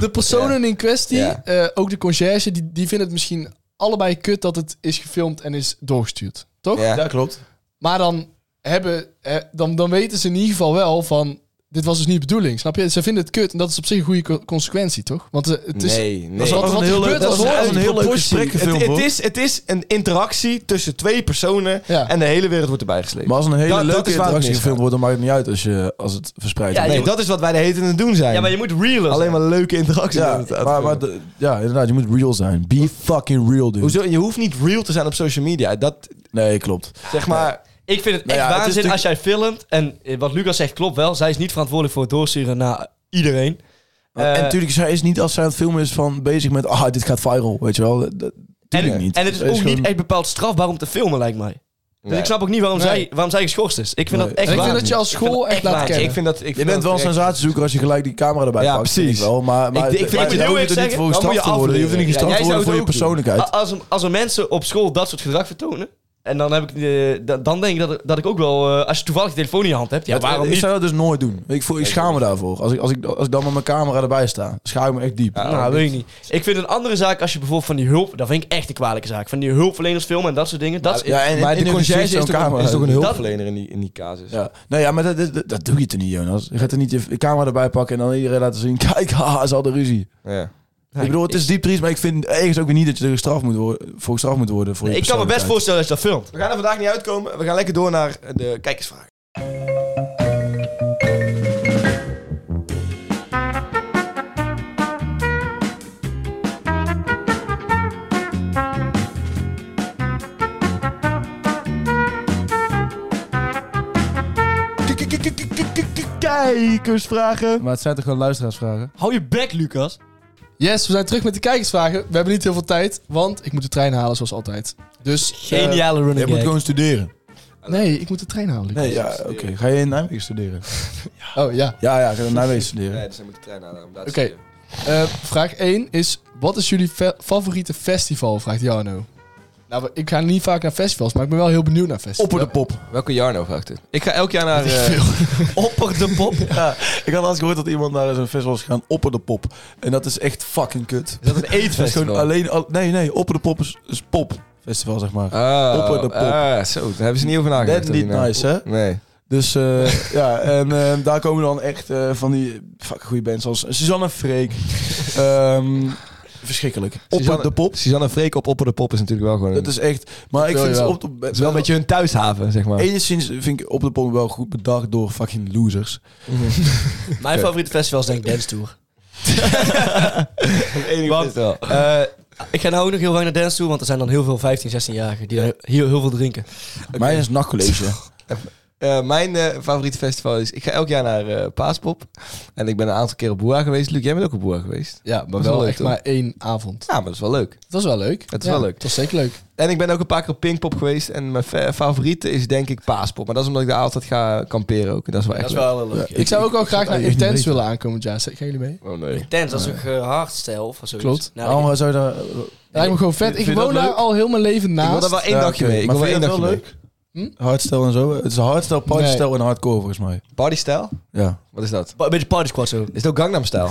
Speaker 5: De personen in kwestie,
Speaker 2: Ja.
Speaker 5: eh, ook de conciërge... Die, die vinden het misschien allebei kut dat het is gefilmd en is doorgestuurd. Toch?
Speaker 2: Ja.
Speaker 3: Ja, klopt.
Speaker 5: Maar dan, hebben, eh, dan, dan weten ze in ieder geval wel van... Dit was dus niet de bedoeling, snap je? Ze vinden het kut en dat is op zich een goede co- consequentie, toch? Want eh, het is...
Speaker 2: Nee, nee.
Speaker 5: is wat- wat gebeurt
Speaker 3: leuk-
Speaker 5: als
Speaker 3: dat was
Speaker 5: horen.
Speaker 3: een heel leuk
Speaker 2: Proportie.
Speaker 3: gesprek
Speaker 2: het,
Speaker 3: gefilmd
Speaker 2: het,
Speaker 3: hoor.
Speaker 2: is, het is een interactie tussen twee personen
Speaker 5: Ja.
Speaker 2: en de hele wereld wordt erbij gesleept.
Speaker 3: Maar als een hele
Speaker 2: Dat- dat
Speaker 3: leuke
Speaker 2: is waar het
Speaker 3: interactie
Speaker 2: misgaat.
Speaker 3: gefilmd wordt, dan maakt het niet uit als, je, als het verspreid
Speaker 4: Ja,
Speaker 3: wordt.
Speaker 2: nee, dat is wat wij de hete aan het doen zijn.
Speaker 4: Ja, maar je moet realen.
Speaker 2: Alleen maar leuke interacties. aan
Speaker 3: Ja,
Speaker 2: het- aan het
Speaker 3: maar, maar de- ja, inderdaad, je moet real zijn. Be fucking real, dude.
Speaker 2: Hoezo? Je hoeft niet real te zijn op social media. Dat,
Speaker 3: Nee, klopt.
Speaker 2: zeg maar...
Speaker 4: Ik vind het
Speaker 3: Nou
Speaker 4: echt
Speaker 3: ja, het is
Speaker 4: waanzin
Speaker 3: natuurlijk-
Speaker 4: als jij filmt. En eh, wat Lucas zegt klopt wel. Zij is niet verantwoordelijk voor het doorsturen naar iedereen. Eh,
Speaker 3: en natuurlijk, zij is niet als zij aan het filmen is van bezig met, ah, dit gaat viral, weet je wel. Dat, dat- tuurlijk
Speaker 4: en,
Speaker 3: niet.
Speaker 4: En het is
Speaker 3: Zij
Speaker 4: ook
Speaker 3: gewoon-
Speaker 4: niet echt bepaald strafbaar om te filmen, lijkt mij. Dus
Speaker 2: Nee.
Speaker 4: ik snap ook niet waarom,
Speaker 5: Nee.
Speaker 4: zij, waarom zij geschorst is. Ik vind
Speaker 3: Nee.
Speaker 4: dat echt
Speaker 5: ik vind
Speaker 4: waanzin.
Speaker 5: dat je als
Speaker 4: vind
Speaker 5: school
Speaker 4: dat
Speaker 5: echt
Speaker 4: echt
Speaker 5: laat
Speaker 4: waar.
Speaker 5: kennen.
Speaker 2: Ik vind dat... Ik
Speaker 3: Je
Speaker 2: vind
Speaker 3: bent
Speaker 2: dat
Speaker 3: wel een
Speaker 2: terecht.
Speaker 3: sensatiezoeker als je gelijk die camera erbij
Speaker 2: Ja,
Speaker 3: pakt. vind ik
Speaker 2: precies.
Speaker 3: Wel, maar, maar
Speaker 2: Ik- ik vind
Speaker 3: maar
Speaker 2: dat je
Speaker 3: dan
Speaker 2: heel
Speaker 3: hoef
Speaker 4: eerlijk
Speaker 3: er niet
Speaker 4: zeggen,
Speaker 3: voor
Speaker 2: dan moet je
Speaker 3: gestraft te worden. Je hoeft er niet
Speaker 2: afleren.
Speaker 3: gestraft
Speaker 2: Ja,
Speaker 3: te
Speaker 2: jij
Speaker 3: worden voor
Speaker 2: zou
Speaker 3: je
Speaker 2: het ook Ah,
Speaker 3: persoonlijkheid.
Speaker 4: A- Als, er- als er mensen op school dat soort gedrag vertonen. En dan, heb ik, eh, da- dan denk ik dat, er- dat ik ook wel... eh, als je toevallig je telefoon in je hand hebt.
Speaker 2: ah,
Speaker 4: Ja,
Speaker 3: Het-
Speaker 4: waarom
Speaker 3: Ik
Speaker 4: niet?
Speaker 3: zou dat dus nooit doen. Ik, voel, ik schaam me daarvoor. Als ik, als, ik, als ik dan met mijn camera erbij sta, schaam ik me echt diep.
Speaker 4: nou, weet ik niet. Ik vind een andere zaak als je bijvoorbeeld van die hulp... Dat vind ik echt een kwalijke zaak. Van die hulpverleners filmen en dat soort dingen. Dat, is-
Speaker 3: Ja, en,
Speaker 2: Maar
Speaker 3: en
Speaker 2: de
Speaker 3: in
Speaker 2: conciërge
Speaker 3: gezicht
Speaker 2: is,
Speaker 3: zo'n
Speaker 2: toch een-
Speaker 3: camera.
Speaker 2: is toch een
Speaker 4: Dat-
Speaker 2: hulpverlener in die, in die casus?
Speaker 3: Ja. Nee, ja, maar dat, dat, dat doe je toch niet, Jonas? Je gaat er niet je je camera erbij pakken en dan iedereen laten zien... Kijk, haha, ze hadden ruzie.
Speaker 2: Ja.
Speaker 3: ik bedoel, het is diep triest, maar ik vind ergens ook weer niet dat je er gestraft moet worden, voor gestraft moet worden. Voor je
Speaker 4: ik kan me best
Speaker 3: persoonlijkheid.
Speaker 4: voorstellen dat je dat filmt.
Speaker 2: We gaan er vandaag niet uitkomen. We gaan lekker door naar de kijkersvraag. Kijkersvragen.
Speaker 3: Maar het zijn toch gewoon luisteraarsvragen?
Speaker 4: Hou je bek, Lucas.
Speaker 3: Eh,
Speaker 5: Yes, we zijn terug met de kijkersvragen. We hebben niet heel veel tijd, want ik moet de trein halen zoals altijd. Dus... eh,
Speaker 4: Geniale running
Speaker 3: Je moet gewoon studeren.
Speaker 5: nee, ik moet de trein halen. Lucas.
Speaker 3: Nee, ja, oké. Ga je in Nijmegen studeren?
Speaker 5: Oh ja.
Speaker 3: Ja, ja, ga je in Nijmegen studeren.
Speaker 2: Nee, dus hij moet de trein aan. Oké.
Speaker 5: Oké. Eh, vraag 1 is: wat is jullie fe- favoriete festival? Vraagt Jarno. Nou, we- ik ga niet vaak naar festivals, maar ik ben wel heel benieuwd naar festivals.
Speaker 3: Opper de pop.
Speaker 2: Welke Jarno vraagt dit? Ik ga elk jaar naar... eh,
Speaker 3: Opper de pop? ja, ik had laatst gehoord dat iemand naar zo'n festival is gegaan. Opper de pop. En dat is echt fucking kut.
Speaker 2: is dat een
Speaker 3: Dat is gewoon
Speaker 2: eetfestival?
Speaker 3: alleen... al- nee, nee. Opper de pop is, is pop. Festival, zeg maar.
Speaker 2: Oh,
Speaker 3: Opper de pop.
Speaker 2: ah, zo, daar hebben ze niet over
Speaker 3: Net
Speaker 2: nagedacht.
Speaker 3: niet
Speaker 2: hierna.
Speaker 3: nice, hè?
Speaker 2: Nee.
Speaker 3: Dus eh, ja, en eh, daar komen dan echt eh, van die fucking goede bands als Suzanne Freek. Ehm, verschrikkelijk. Opper de Pop.
Speaker 2: Suzanne Freek op Opper de Pop is natuurlijk wel gewoon...
Speaker 3: Dat is echt... Maar ik
Speaker 2: wil
Speaker 3: vind
Speaker 2: je
Speaker 3: ze
Speaker 2: wel.
Speaker 3: op de...
Speaker 2: Het is wel een beetje hun thuishaven, zeg maar.
Speaker 3: Enigszins vind ik op de pop wel goed bedacht door fucking losers.
Speaker 4: Mijn favoriete festival is denk ik Dance Tour.
Speaker 2: Want-
Speaker 4: Eh, ik ga nou ook nog heel weinig naar Dance Tour, want er zijn dan heel veel 15, 16-jarigen die daar heel, heel veel drinken.
Speaker 3: Mij is nachtcollege.
Speaker 2: Eh, mijn eh, favoriete festival is... Ik ga elk jaar naar eh, Paaspop. En ik ben een aantal keer op Boera geweest. Luc, jij bent ook op Boera geweest.
Speaker 5: Ja, maar
Speaker 2: is wel
Speaker 5: wel
Speaker 2: leuk,
Speaker 5: echt
Speaker 2: toch?
Speaker 5: maar één avond.
Speaker 2: Ja, maar dat is wel leuk.
Speaker 5: Dat is wel leuk.
Speaker 2: Het is
Speaker 5: Ja,
Speaker 2: wel leuk.
Speaker 5: Dat is zeker leuk.
Speaker 2: En ik ben ook een paar keer op Pinkpop geweest. En mijn fa- favoriete is denk ik Paaspop. Maar dat is omdat ik daar altijd ga kamperen ook. En dat is wel echt leuk.
Speaker 4: heel leuk.
Speaker 5: Ik, zou ook wel graag naar
Speaker 3: eigenlijk niet
Speaker 5: Intense
Speaker 3: weten.
Speaker 5: willen aankomend jaar. Zeg- Gaan jullie mee?
Speaker 2: Oh nee.
Speaker 4: Dance, dat is ook eh, hardstyle of zoiets.
Speaker 5: Klopt.
Speaker 4: Nou, ik-
Speaker 3: Allemaal zou je daar...
Speaker 5: Lijkt me gewoon vet.
Speaker 3: Vind je
Speaker 5: Ik
Speaker 3: dat
Speaker 5: woon daar
Speaker 3: leuk?
Speaker 5: al heel mijn leven
Speaker 2: Ik wil
Speaker 5: naast.
Speaker 2: daar wel één
Speaker 3: Ja,
Speaker 2: dagje
Speaker 3: oké.
Speaker 2: mee. Ik
Speaker 3: Maar
Speaker 2: wil wel één
Speaker 3: vind je
Speaker 2: dagje
Speaker 3: dat
Speaker 2: mee.
Speaker 3: wel Hardstyle en zo. Het is hardstyle, partystyle en hardcore volgens mij.
Speaker 2: Partystyle?
Speaker 3: Ja.
Speaker 2: Wat is dat?
Speaker 4: Een beetje party squad zo.
Speaker 2: Is het ook Gangnam Style?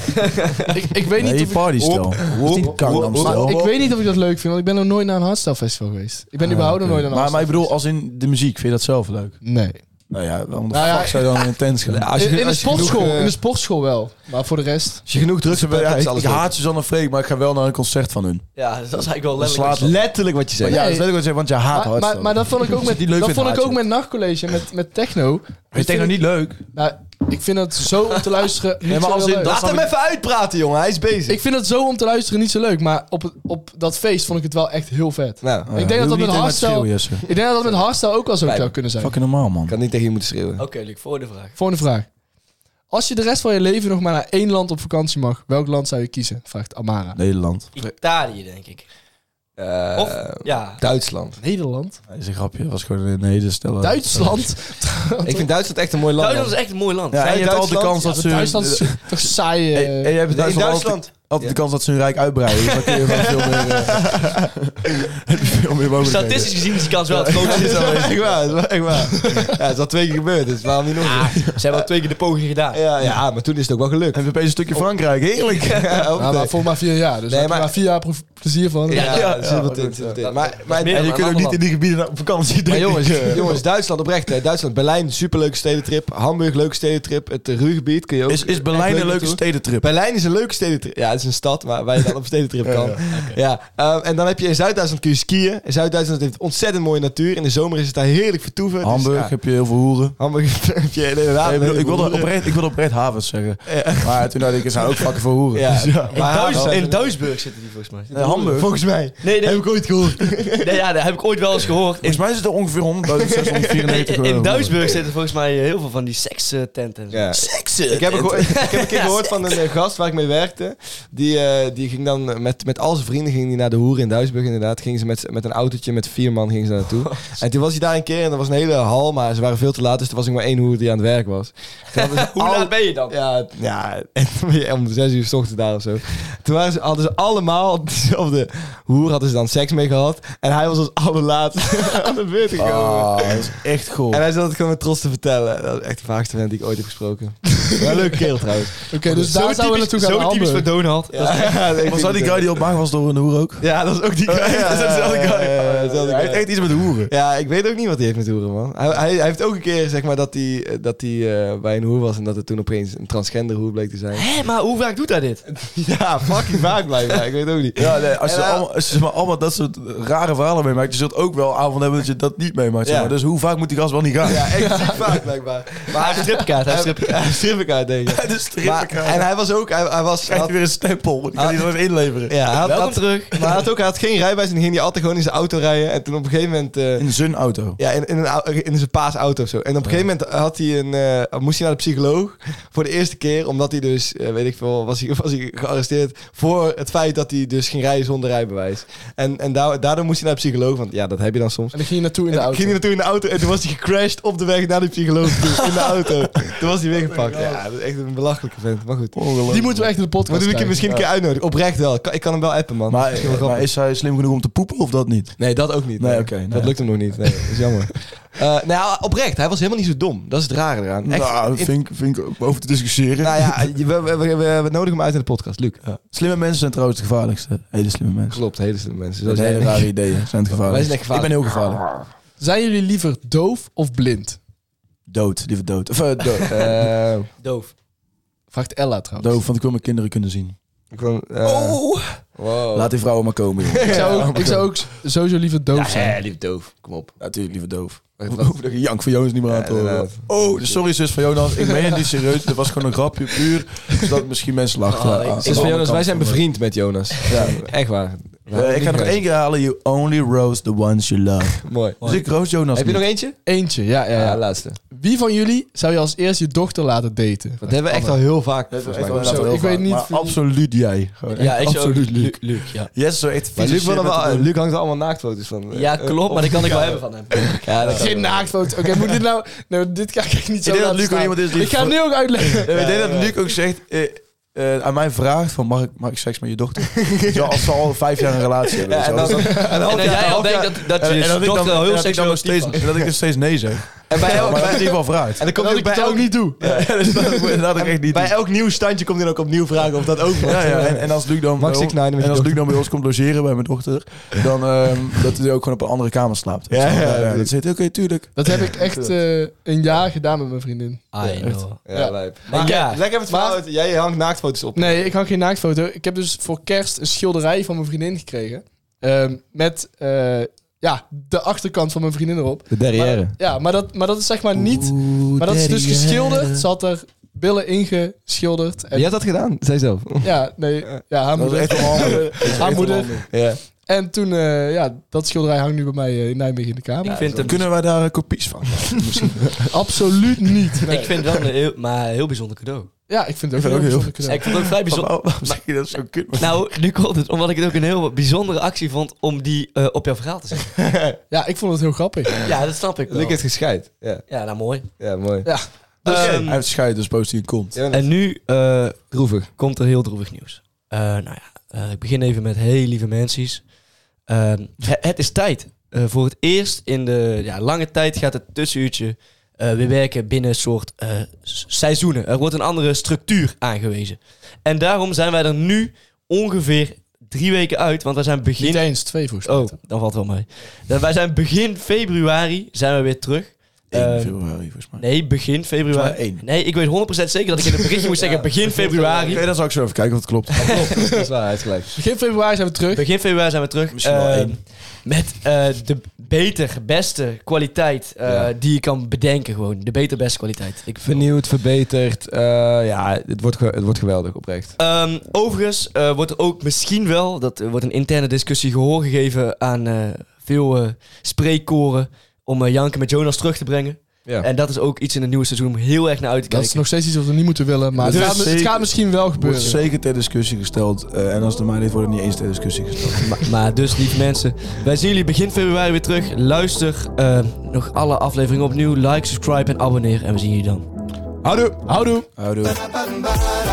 Speaker 5: Ik, ik, weet niet
Speaker 3: Nee,
Speaker 5: of ik,
Speaker 3: partystyle. Dat is niet Gangnam
Speaker 5: maar
Speaker 3: Style.
Speaker 5: ik weet niet of ik dat leuk vind, want ik ben nog nooit naar een hardstyle festival geweest. Ik ben überhaupt nog nooit naar een
Speaker 3: Ah, Maar, maar ik
Speaker 5: hardstyle
Speaker 3: bedoel, als in de muziek, vind je dat zelf leuk?
Speaker 5: festival. Nee.
Speaker 3: Nou ja, waarom de
Speaker 5: Nou ja,
Speaker 3: fuck zou je dan intens gaan?
Speaker 2: Als je-
Speaker 5: in, in de
Speaker 2: als je genoeg,
Speaker 5: sportschool,
Speaker 2: eh,
Speaker 5: in de sportschool wel. Maar voor de rest...
Speaker 2: Als je genoeg drugs hebt,
Speaker 3: Ja,
Speaker 2: dan is
Speaker 3: ik,
Speaker 2: alles
Speaker 3: ik
Speaker 2: leuk.
Speaker 3: haat Suzanne Freek, maar ik ga wel naar een concert van hun.
Speaker 4: Ja, dat is eigenlijk wel
Speaker 3: Dat
Speaker 4: letterlijk.
Speaker 3: slaat
Speaker 4: wat je
Speaker 2: Letterlijk wat je zegt.
Speaker 3: Ja, dat wil ik wel zeggen, want je haat
Speaker 5: Maar,
Speaker 3: hardstyle.
Speaker 5: maar, maar dat vond ik ook met,
Speaker 3: Die leuk
Speaker 5: dat
Speaker 3: vindt
Speaker 5: vond ik
Speaker 3: haat
Speaker 5: ook
Speaker 3: je.
Speaker 5: met nachtcollege en met, met techno.
Speaker 3: Vind je techno niet leuk?
Speaker 5: Nou, ik vind dat zo om te luisteren niet
Speaker 3: maar
Speaker 5: zo
Speaker 3: als in
Speaker 5: leuk.
Speaker 3: dat-
Speaker 2: Laat hem even uitpraten, jongen. Hij is bezig.
Speaker 5: Ik vind het zo om te luisteren niet zo leuk. Maar op, het- op dat feest vond ik het wel echt heel vet.
Speaker 2: Nou,
Speaker 5: Ik denk dat dat met hardstyle... Ik
Speaker 3: Jesse.
Speaker 5: denk dat dat met hardstyle ook wel zo
Speaker 2: Blijf.
Speaker 5: zou kunnen zijn.
Speaker 3: Fucking normaal, man.
Speaker 2: ik had niet tegen je moeten schreeuwen.
Speaker 4: zegt. Oké, Luc, voor de vraag.
Speaker 5: Volgende vraag. Als je de rest van je leven nog maar naar één land op vakantie mag, welk land zou je kiezen? Vraagt Amara.
Speaker 3: Nederland.
Speaker 4: Italië, denk ik.
Speaker 2: Eh,
Speaker 4: Of, ja.
Speaker 2: Duitsland.
Speaker 5: Nederland?
Speaker 3: Dat is een grapje. Dat was gewoon eh, een hele stille...
Speaker 5: Duitsland?
Speaker 2: Ik vind Duitsland echt een mooi land.
Speaker 4: Duitsland
Speaker 2: man.
Speaker 4: is echt een mooi land.
Speaker 3: Ja, en je hebt altijd de kans dat ze...
Speaker 5: Duitsland is toch saai. eh,
Speaker 3: En je hebt in
Speaker 2: Nee, in
Speaker 3: Duitsland altijd-
Speaker 2: Duitsland.
Speaker 3: altijd de kans dat ze hun rijk uitbreiden. Dus dan kun je gewoon veel meer... eh, heb je veel meer mogelijkheden.
Speaker 4: Statistisch gezien is die kans wel het grootste.
Speaker 2: is wel echt waar, is wel echt waar. Ja, het is al twee keer gebeurd, dus waarom niet nog een keer?
Speaker 4: Ze hebben al twee keer de poging gedaan.
Speaker 2: ja, ja, maar toen is het ook wel gelukt.
Speaker 3: Heb je opeens een stukje Frankrijk? Heerlijk.
Speaker 2: Ja,
Speaker 5: nou, maar voor maar vier jaar. Dus
Speaker 2: Nee,
Speaker 5: heb je
Speaker 2: maar-
Speaker 5: maar vier jaar proef- plezier van.
Speaker 2: ja,
Speaker 4: ja,
Speaker 2: er zit wat
Speaker 3: ja,
Speaker 2: in, er zit wat in.
Speaker 4: dat-
Speaker 2: Maar,
Speaker 4: dat
Speaker 2: maar,
Speaker 4: is meer
Speaker 3: En je
Speaker 4: dan
Speaker 3: kunt ook
Speaker 4: een
Speaker 3: niet
Speaker 4: ander
Speaker 3: in die gebieden naar op vakantie, denk
Speaker 2: maar jongens,
Speaker 3: ik, eh.
Speaker 2: jongens, Duitsland oprecht. Hè. Duitsland, Berlijn, superleuke stedentrip. Hamburg, leuke stedentrip. Het eh, Ruhrgebied kun je ook...
Speaker 3: Is, is
Speaker 2: echt
Speaker 3: Berlijn
Speaker 2: leuk
Speaker 3: een leuke
Speaker 2: naartoe.
Speaker 3: stedentrip?
Speaker 2: Berlijn is een leuke stedentrip. Ja, het is een stad waar, waar je dan op stedentrip kan. Ja, ehm, en dan heb je in Zuid-Duitsland kun je skiën. In Zuid-Duitsland heeft ontzettend mooie natuur. In de zomer is het daar heerlijk vertoeven. Dus
Speaker 3: Hamburg
Speaker 2: ja,
Speaker 3: heb je heel veel hoeren.
Speaker 2: Hamburg heb je inderdaad...
Speaker 3: Ah, Nee, ik,
Speaker 2: een
Speaker 3: wilde, ik, wilde
Speaker 2: heleboel-
Speaker 3: oprecht, ik wilde oprecht havens zeggen. Maar toen dacht ik, er zijn ook vakken voor hoeren.
Speaker 2: Ja,
Speaker 3: Dus ja.
Speaker 2: maar
Speaker 4: In, Duits,
Speaker 2: Hamburg-
Speaker 4: in Duitsburg zitten die volgens mij.
Speaker 3: Eh, Hamburg.
Speaker 2: Volgens mij.
Speaker 4: Nee, nee,
Speaker 2: Heb ik ooit gehoord.
Speaker 4: nee, ja, dat heb ik ooit wel eens gehoord. In,
Speaker 3: Volgens mij is het er ongeveer 100.694
Speaker 4: in, in
Speaker 3: euro.
Speaker 4: Duitsburg zitten volgens mij heel veel van die sekstenten.
Speaker 2: Ja.
Speaker 4: Seksen.
Speaker 2: Ik heb, een geho- ik heb een keer gehoord van een eh, gast waar ik mee werkte. Die, eh, die ging dan met, met al zijn vrienden ging die naar de hoer in Duitsburg inderdaad. Gingen ze met, z'n- met een autootje met vier man gingen ze daar naartoe.
Speaker 4: Oh,
Speaker 2: En toen was hij daar een keer en dat was een hele hal. Maar ze waren veel te laat, dus er was nog maar één hoer die aan het werk was. Toen hadden ze
Speaker 4: Hoe
Speaker 2: al-
Speaker 4: laat ben je dan?
Speaker 2: Ja, ja en toen ben je om zes uur 's ochtends daar of zo. Toen waren ze, hadden ze allemaal dezelfde hoer, hadden ze dan seks mee gehad. En hij was als allerlaatste aan de beurt gekomen.
Speaker 4: Oh.
Speaker 3: Ah, dat is echt cool.
Speaker 2: En hij zat het gewoon met trots te vertellen. Dat is echt de vaagste vent die ik ooit heb gesproken. Wel leuk kerel trouwens.
Speaker 5: Oké, dus daar zouden we naartoe gaan. naar
Speaker 4: Zo typisch voor
Speaker 5: Hamburg.
Speaker 4: Donald.
Speaker 2: Ja, dat is-
Speaker 3: Was dat die guy die opmaakt was door een hoer ook?
Speaker 2: Ja, dat is ook die guy.
Speaker 3: Ja,
Speaker 2: dat is dezelfde
Speaker 3: ja,
Speaker 2: guy.
Speaker 3: ja, ja, ja,
Speaker 2: Dezelfde guy.
Speaker 3: Hij heeft echt iets met hoeren.
Speaker 2: Ja, ik weet ook niet wat hij heeft met hoeren, man. Hij, hij, hij heeft ook een keer, zeg maar, dat hij, eh, dat hij eh, bij een hoer was... en dat het toen opeens een transgender hoer bleek te zijn.
Speaker 4: Hé, maar hoe vaak doet hij dit?
Speaker 2: ja, fucking vaak blijkbaar. Ik weet ook niet.
Speaker 3: Ja, nee, als je,
Speaker 2: En, eh,
Speaker 3: allemaal, als je maar allemaal dat soort rare verhalen meemaakt, je zult ook wel avonden hebben dat je dat niet meemaakt. zeg
Speaker 2: Ja.
Speaker 3: maar. Dus hoe vaak moet die gast wel niet gaan?
Speaker 2: Ja, echt ziek vaak blijkbaar. Maar hij
Speaker 4: Stripkaart,
Speaker 2: hij-
Speaker 4: hij heeft stripkaart.
Speaker 2: hij heeft strippenkaart, denk ik.
Speaker 3: Dus de
Speaker 2: Maar-
Speaker 3: en
Speaker 2: en hij was ook... Hij, hij was...
Speaker 3: krijgt
Speaker 2: had-
Speaker 3: hij weer een stempel. Die kan hij nog even inleveren.
Speaker 2: ja, hij had,
Speaker 4: Welkom
Speaker 2: had-
Speaker 4: terug.
Speaker 2: maar hij had ook hij had geen rijbewijs en ging die altijd gewoon in zijn auto rijden. En toen op een gegeven moment... eh,
Speaker 3: In zijn auto.
Speaker 2: Ja, in, in, een, au- in zijn paasauto of zo. En op een gegeven moment had hij een, eh, moest hij naar de psycholoog voor de eerste keer. Omdat hij dus, eh, weet ik veel, was hij, was hij gearresteerd voor het feit dat hij dus ging rijden zonder rijbewijs. En, en daar- daardoor moest hij naar de psycholoog, want ja, dat heb je dan soms.
Speaker 5: En dan ging je naartoe in
Speaker 2: En
Speaker 5: de
Speaker 2: toen
Speaker 5: auto.
Speaker 2: ging hij naartoe in de auto en toen was hij gecrashed op de weg naar de psycholoog toe, in de auto. Toen was hij
Speaker 5: Oh
Speaker 2: weer gepakt. Ja, dat is echt een belachelijke vent, maar goed.
Speaker 5: Die moeten we echt in de
Speaker 2: Moeten
Speaker 5: podcast
Speaker 2: we een keer,
Speaker 5: krijgen.
Speaker 2: misschien een keer uitnodigen? Oprecht wel. Ik kan, ik kan hem wel appen, man.
Speaker 3: Maar,
Speaker 2: Misschien wel
Speaker 5: eh,
Speaker 2: grappig.
Speaker 3: maar is hij slim genoeg om te poepen of dat niet?
Speaker 2: Nee, dat ook niet.
Speaker 3: Nee, oké, nee.
Speaker 2: Dat lukt hem nog niet. Nee, dat is jammer. Eh, nou ja, oprecht. Hij was helemaal niet zo dom. Dat is het rare eraan. Echt,
Speaker 3: nou,
Speaker 2: in-
Speaker 3: vind, ik- vind ik ook over te discussiëren.
Speaker 2: nou ja, je- we, we, we, we- we nodigen hem uit in de podcast. Luc.
Speaker 3: Ja. Slimme mensen zijn trouwens het gevaarlijkste. Hele slimme mensen.
Speaker 2: Klopt, hele slimme mensen.
Speaker 3: Dat
Speaker 2: Zoals
Speaker 3: zijn
Speaker 2: jij
Speaker 3: hele rare ideeën. Zijn het
Speaker 2: Wij
Speaker 3: gevaarlijk.
Speaker 2: zijn echt gevaarlijk.
Speaker 3: Ik ben heel gevaarlijk.
Speaker 5: Zijn jullie liever doof of blind?
Speaker 3: Dood, liever dood. Of, eh, dood.
Speaker 2: Eh,
Speaker 4: Doof.
Speaker 5: Vraagt Ella trouwens.
Speaker 3: Doof, want ik wil mijn kinderen kunnen zien.
Speaker 2: ik wil, eh, wow.
Speaker 3: Laat die vrouwen maar komen. joh.
Speaker 5: Ik zou ook, Oh, ik zou ook sowieso liever doof zijn.
Speaker 2: Ja, lief doof. Kom op.
Speaker 3: Natuurlijk, liever doof.
Speaker 2: Wat-
Speaker 3: Hoef- Hoef dat jank van Jonas niet meer aan te
Speaker 2: Ja,
Speaker 3: horen.
Speaker 2: inderdaad.
Speaker 3: Oh, dus sorry zus van Jonas. Ik meen het niet serieus. Dat was gewoon een grapje, puur. Zodat misschien mensen lachen.
Speaker 4: Oh, ik-
Speaker 3: Aan- aan de
Speaker 4: ik-
Speaker 2: Zus van
Speaker 3: andere
Speaker 2: Jonas, wij
Speaker 3: kant
Speaker 2: zijn
Speaker 3: van de-
Speaker 2: bevriend met Jonas. Ja, echt waar.
Speaker 3: Eh, ik ga nog één keer halen. You only roast the ones you love.
Speaker 2: Mooi.
Speaker 3: Dus ik roast Jonas
Speaker 2: Heb je
Speaker 3: niet.
Speaker 2: nog eentje?
Speaker 5: Eentje, ja, ja, ja.
Speaker 2: laatste.
Speaker 5: Wie van jullie zou je als eerst je dochter laten daten?
Speaker 2: Dat hebben we echt al heel vaak. volgens mij.
Speaker 5: wel- Zo, ik weet niet
Speaker 3: Maar
Speaker 5: wie-
Speaker 3: absoluut jij. Gewoon echt
Speaker 4: Ja, ik zou...
Speaker 3: absoluut Luc.
Speaker 4: Luc, ja.
Speaker 3: Yes, zo echt
Speaker 2: Maar Luc,
Speaker 3: vieze
Speaker 2: wil
Speaker 3: shit
Speaker 2: er
Speaker 3: met
Speaker 2: wel,
Speaker 3: de-
Speaker 2: Luc hangt er allemaal naaktfoto's van.
Speaker 4: Ja,
Speaker 2: Eh,
Speaker 4: klopt,
Speaker 2: op-
Speaker 4: maar dat kan ik wel hebben van hem.
Speaker 2: Ja, dat kan
Speaker 5: Geen
Speaker 2: wel.
Speaker 5: naaktfoto. Oké, moet dit nou... Nee, dit kan ik echt niet zo
Speaker 3: Ik denk dat
Speaker 5: laten
Speaker 3: Luc wel
Speaker 5: staan.
Speaker 3: iemand is die-
Speaker 5: Ik ga het nu ook uitleggen.
Speaker 3: Eh, ik denk dat Luc ook zegt... eh, eh, aan mij vraagt van mag ik, mag ik seks met je dochter? Zo, als ze al vijf jaar een relatie hebben.
Speaker 2: Ja,
Speaker 3: weet je
Speaker 2: en
Speaker 3: wel.
Speaker 2: dan- en dan-
Speaker 4: En dat jij al denkt dat, dat je
Speaker 3: en dat ik dan,
Speaker 4: dochter wel
Speaker 3: en
Speaker 4: heel
Speaker 3: dat ik dan
Speaker 4: seksueel
Speaker 3: nog
Speaker 4: actief
Speaker 3: steeds,
Speaker 4: was.
Speaker 3: en dat ik nog steeds nee zeg.
Speaker 2: en bij
Speaker 3: Maar
Speaker 2: elk-
Speaker 3: dat hij het in
Speaker 2: bij-
Speaker 3: ieder geval vraagt.
Speaker 2: en dan komt
Speaker 5: Dat
Speaker 2: hij
Speaker 5: ik het
Speaker 2: bij
Speaker 5: ook
Speaker 2: elk-
Speaker 5: niet doe.
Speaker 3: dat had ik echt niet.
Speaker 2: bij elk nieuw standje komt hij dan ook opnieuw vragen of dat ook was.
Speaker 3: Ja, ja. En, en als Luc dan,
Speaker 2: Max
Speaker 3: bij,
Speaker 2: Six Nine met
Speaker 3: ons,
Speaker 2: je
Speaker 3: en als Luc
Speaker 2: dochter.
Speaker 3: dan bij ons komt logeren bij mijn dochter, dan ehm, dat hij ook gewoon op een andere kamer slaapt.
Speaker 2: Ja,
Speaker 3: Dus,
Speaker 2: ja,
Speaker 3: eh,
Speaker 2: natuurlijk.
Speaker 3: dat zit oké, tuurlijk.
Speaker 5: Dat heb ik echt eh, een jaar gedaan met mijn vriendin.
Speaker 4: I know.
Speaker 2: Ja,
Speaker 5: Ja.
Speaker 2: lijp.
Speaker 4: Maar ja.
Speaker 2: Lekker even het verhaal uit. Jij hangt naaktfoto's op.
Speaker 5: Nee, ik hang geen naaktfoto. Ik heb dus voor kerst een schilderij van mijn vriendin gekregen. Ehm, met eh, ja, de achterkant van mijn vriendin erop.
Speaker 2: De
Speaker 5: Maar, ja, maar dat, maar dat is zeg maar niet... maar dat is dus geschilderd. Ze had er billen ingeschilderd. En,
Speaker 2: Jij had dat gedaan? Zij zelf.
Speaker 5: Ja, nee. Ja, haar
Speaker 3: Dat is
Speaker 5: moeder.
Speaker 3: echt wel handig.
Speaker 5: Haar moeder.
Speaker 2: Ja.
Speaker 5: En toen, eh, ja, dat schilderij hangt nu bij mij eh, in Nijmegen in de kamer.
Speaker 4: Ik vind, hem,
Speaker 3: Kunnen wij daar eh, kopies van?
Speaker 5: Absoluut niet. Nee.
Speaker 4: ik vind het wel een heel, maar een heel bijzonder cadeau.
Speaker 5: ja, ik vind het ook
Speaker 3: vind
Speaker 5: heel,
Speaker 3: het ook
Speaker 5: bijzonder cadeau.
Speaker 4: Ik vond het ook vrij bijzonder.
Speaker 3: Waarom zeg je dat zo kut?
Speaker 4: Nou, nu komt het omdat ik het ook een heel bijzondere actie vond om die eh, op jouw verhaal te zetten.
Speaker 5: Ja, ik vond het heel grappig.
Speaker 4: Ja, dat snap ik wel.
Speaker 2: Luc heeft gescheid. Ja,
Speaker 4: Ja, nou mooi.
Speaker 2: ja mooi.
Speaker 5: Ja.
Speaker 4: Ehm,
Speaker 3: Hij heeft scheid, dus post hij een kont.
Speaker 2: Jonas,
Speaker 4: en nu eh,
Speaker 2: droevig.
Speaker 4: komt er heel droevig nieuws. Eh, nou ja, eh, ik begin even met heel lieve mensies. Ehm, he- het is tijd. Eh, voor het eerst in de ja, lange tijd gaat het tussenuurtje eh, weer werken binnen een soort eh, s- seizoenen. Er wordt een andere structuur aangewezen. En daarom zijn wij er nu ongeveer drie weken uit, want wij zijn
Speaker 5: Niet
Speaker 4: begin...
Speaker 5: eens, twee volgens mij.
Speaker 4: Oh, dan valt wel mee. Dan- wij zijn begin februari zijn we weer terug.
Speaker 3: 1
Speaker 4: Ehm,
Speaker 3: februari, eh, volgens mij.
Speaker 4: Nee, begin februari.
Speaker 3: Maar één.
Speaker 4: Nee, ik weet 100% zeker dat ik in het berichtje moest zeggen begin februari.
Speaker 3: Oké, dan zal ik zo even kijken of het klopt.
Speaker 2: Dat is waar, hij is gelijk.
Speaker 5: Begin februari zijn we terug.
Speaker 4: Begin februari zijn we terug.
Speaker 3: Misschien wel
Speaker 4: Ehm,
Speaker 3: één.
Speaker 4: Met eh, de beter, beste kwaliteit eh,
Speaker 2: Ja.
Speaker 4: die je kan bedenken gewoon. De beter, beste kwaliteit. Ik
Speaker 2: Vernieuwd, verbeterd. eh, ja, het wordt, ge- het wordt geweldig, oprecht.
Speaker 4: Ehm, overigens eh, wordt er ook misschien wel, dat eh, wordt een interne discussie gehoor gegeven aan eh, veel eh, spreekkoren om eh, Janke met Jonas terug te brengen.
Speaker 2: Ja.
Speaker 4: En dat is ook iets in het nieuwe seizoen om heel erg naar uit te
Speaker 5: Dat
Speaker 4: kijken.
Speaker 5: is nog steeds iets wat we niet moeten willen, maar
Speaker 3: Dus
Speaker 5: het, gaat,
Speaker 3: zeker-
Speaker 5: het gaat misschien wel
Speaker 3: Wordt
Speaker 5: gebeuren.
Speaker 3: zeker ter discussie gesteld. eh, en als het aan mij ligt, wordt het niet eens ter discussie gesteld.
Speaker 4: Maar, maar dus, lieve mensen, wij zien jullie begin februari weer terug. Luister eh, nog alle afleveringen opnieuw. Like, subscribe en abonneer. En we zien jullie dan.
Speaker 2: Houdoe! Houdoe!
Speaker 3: Houdoe.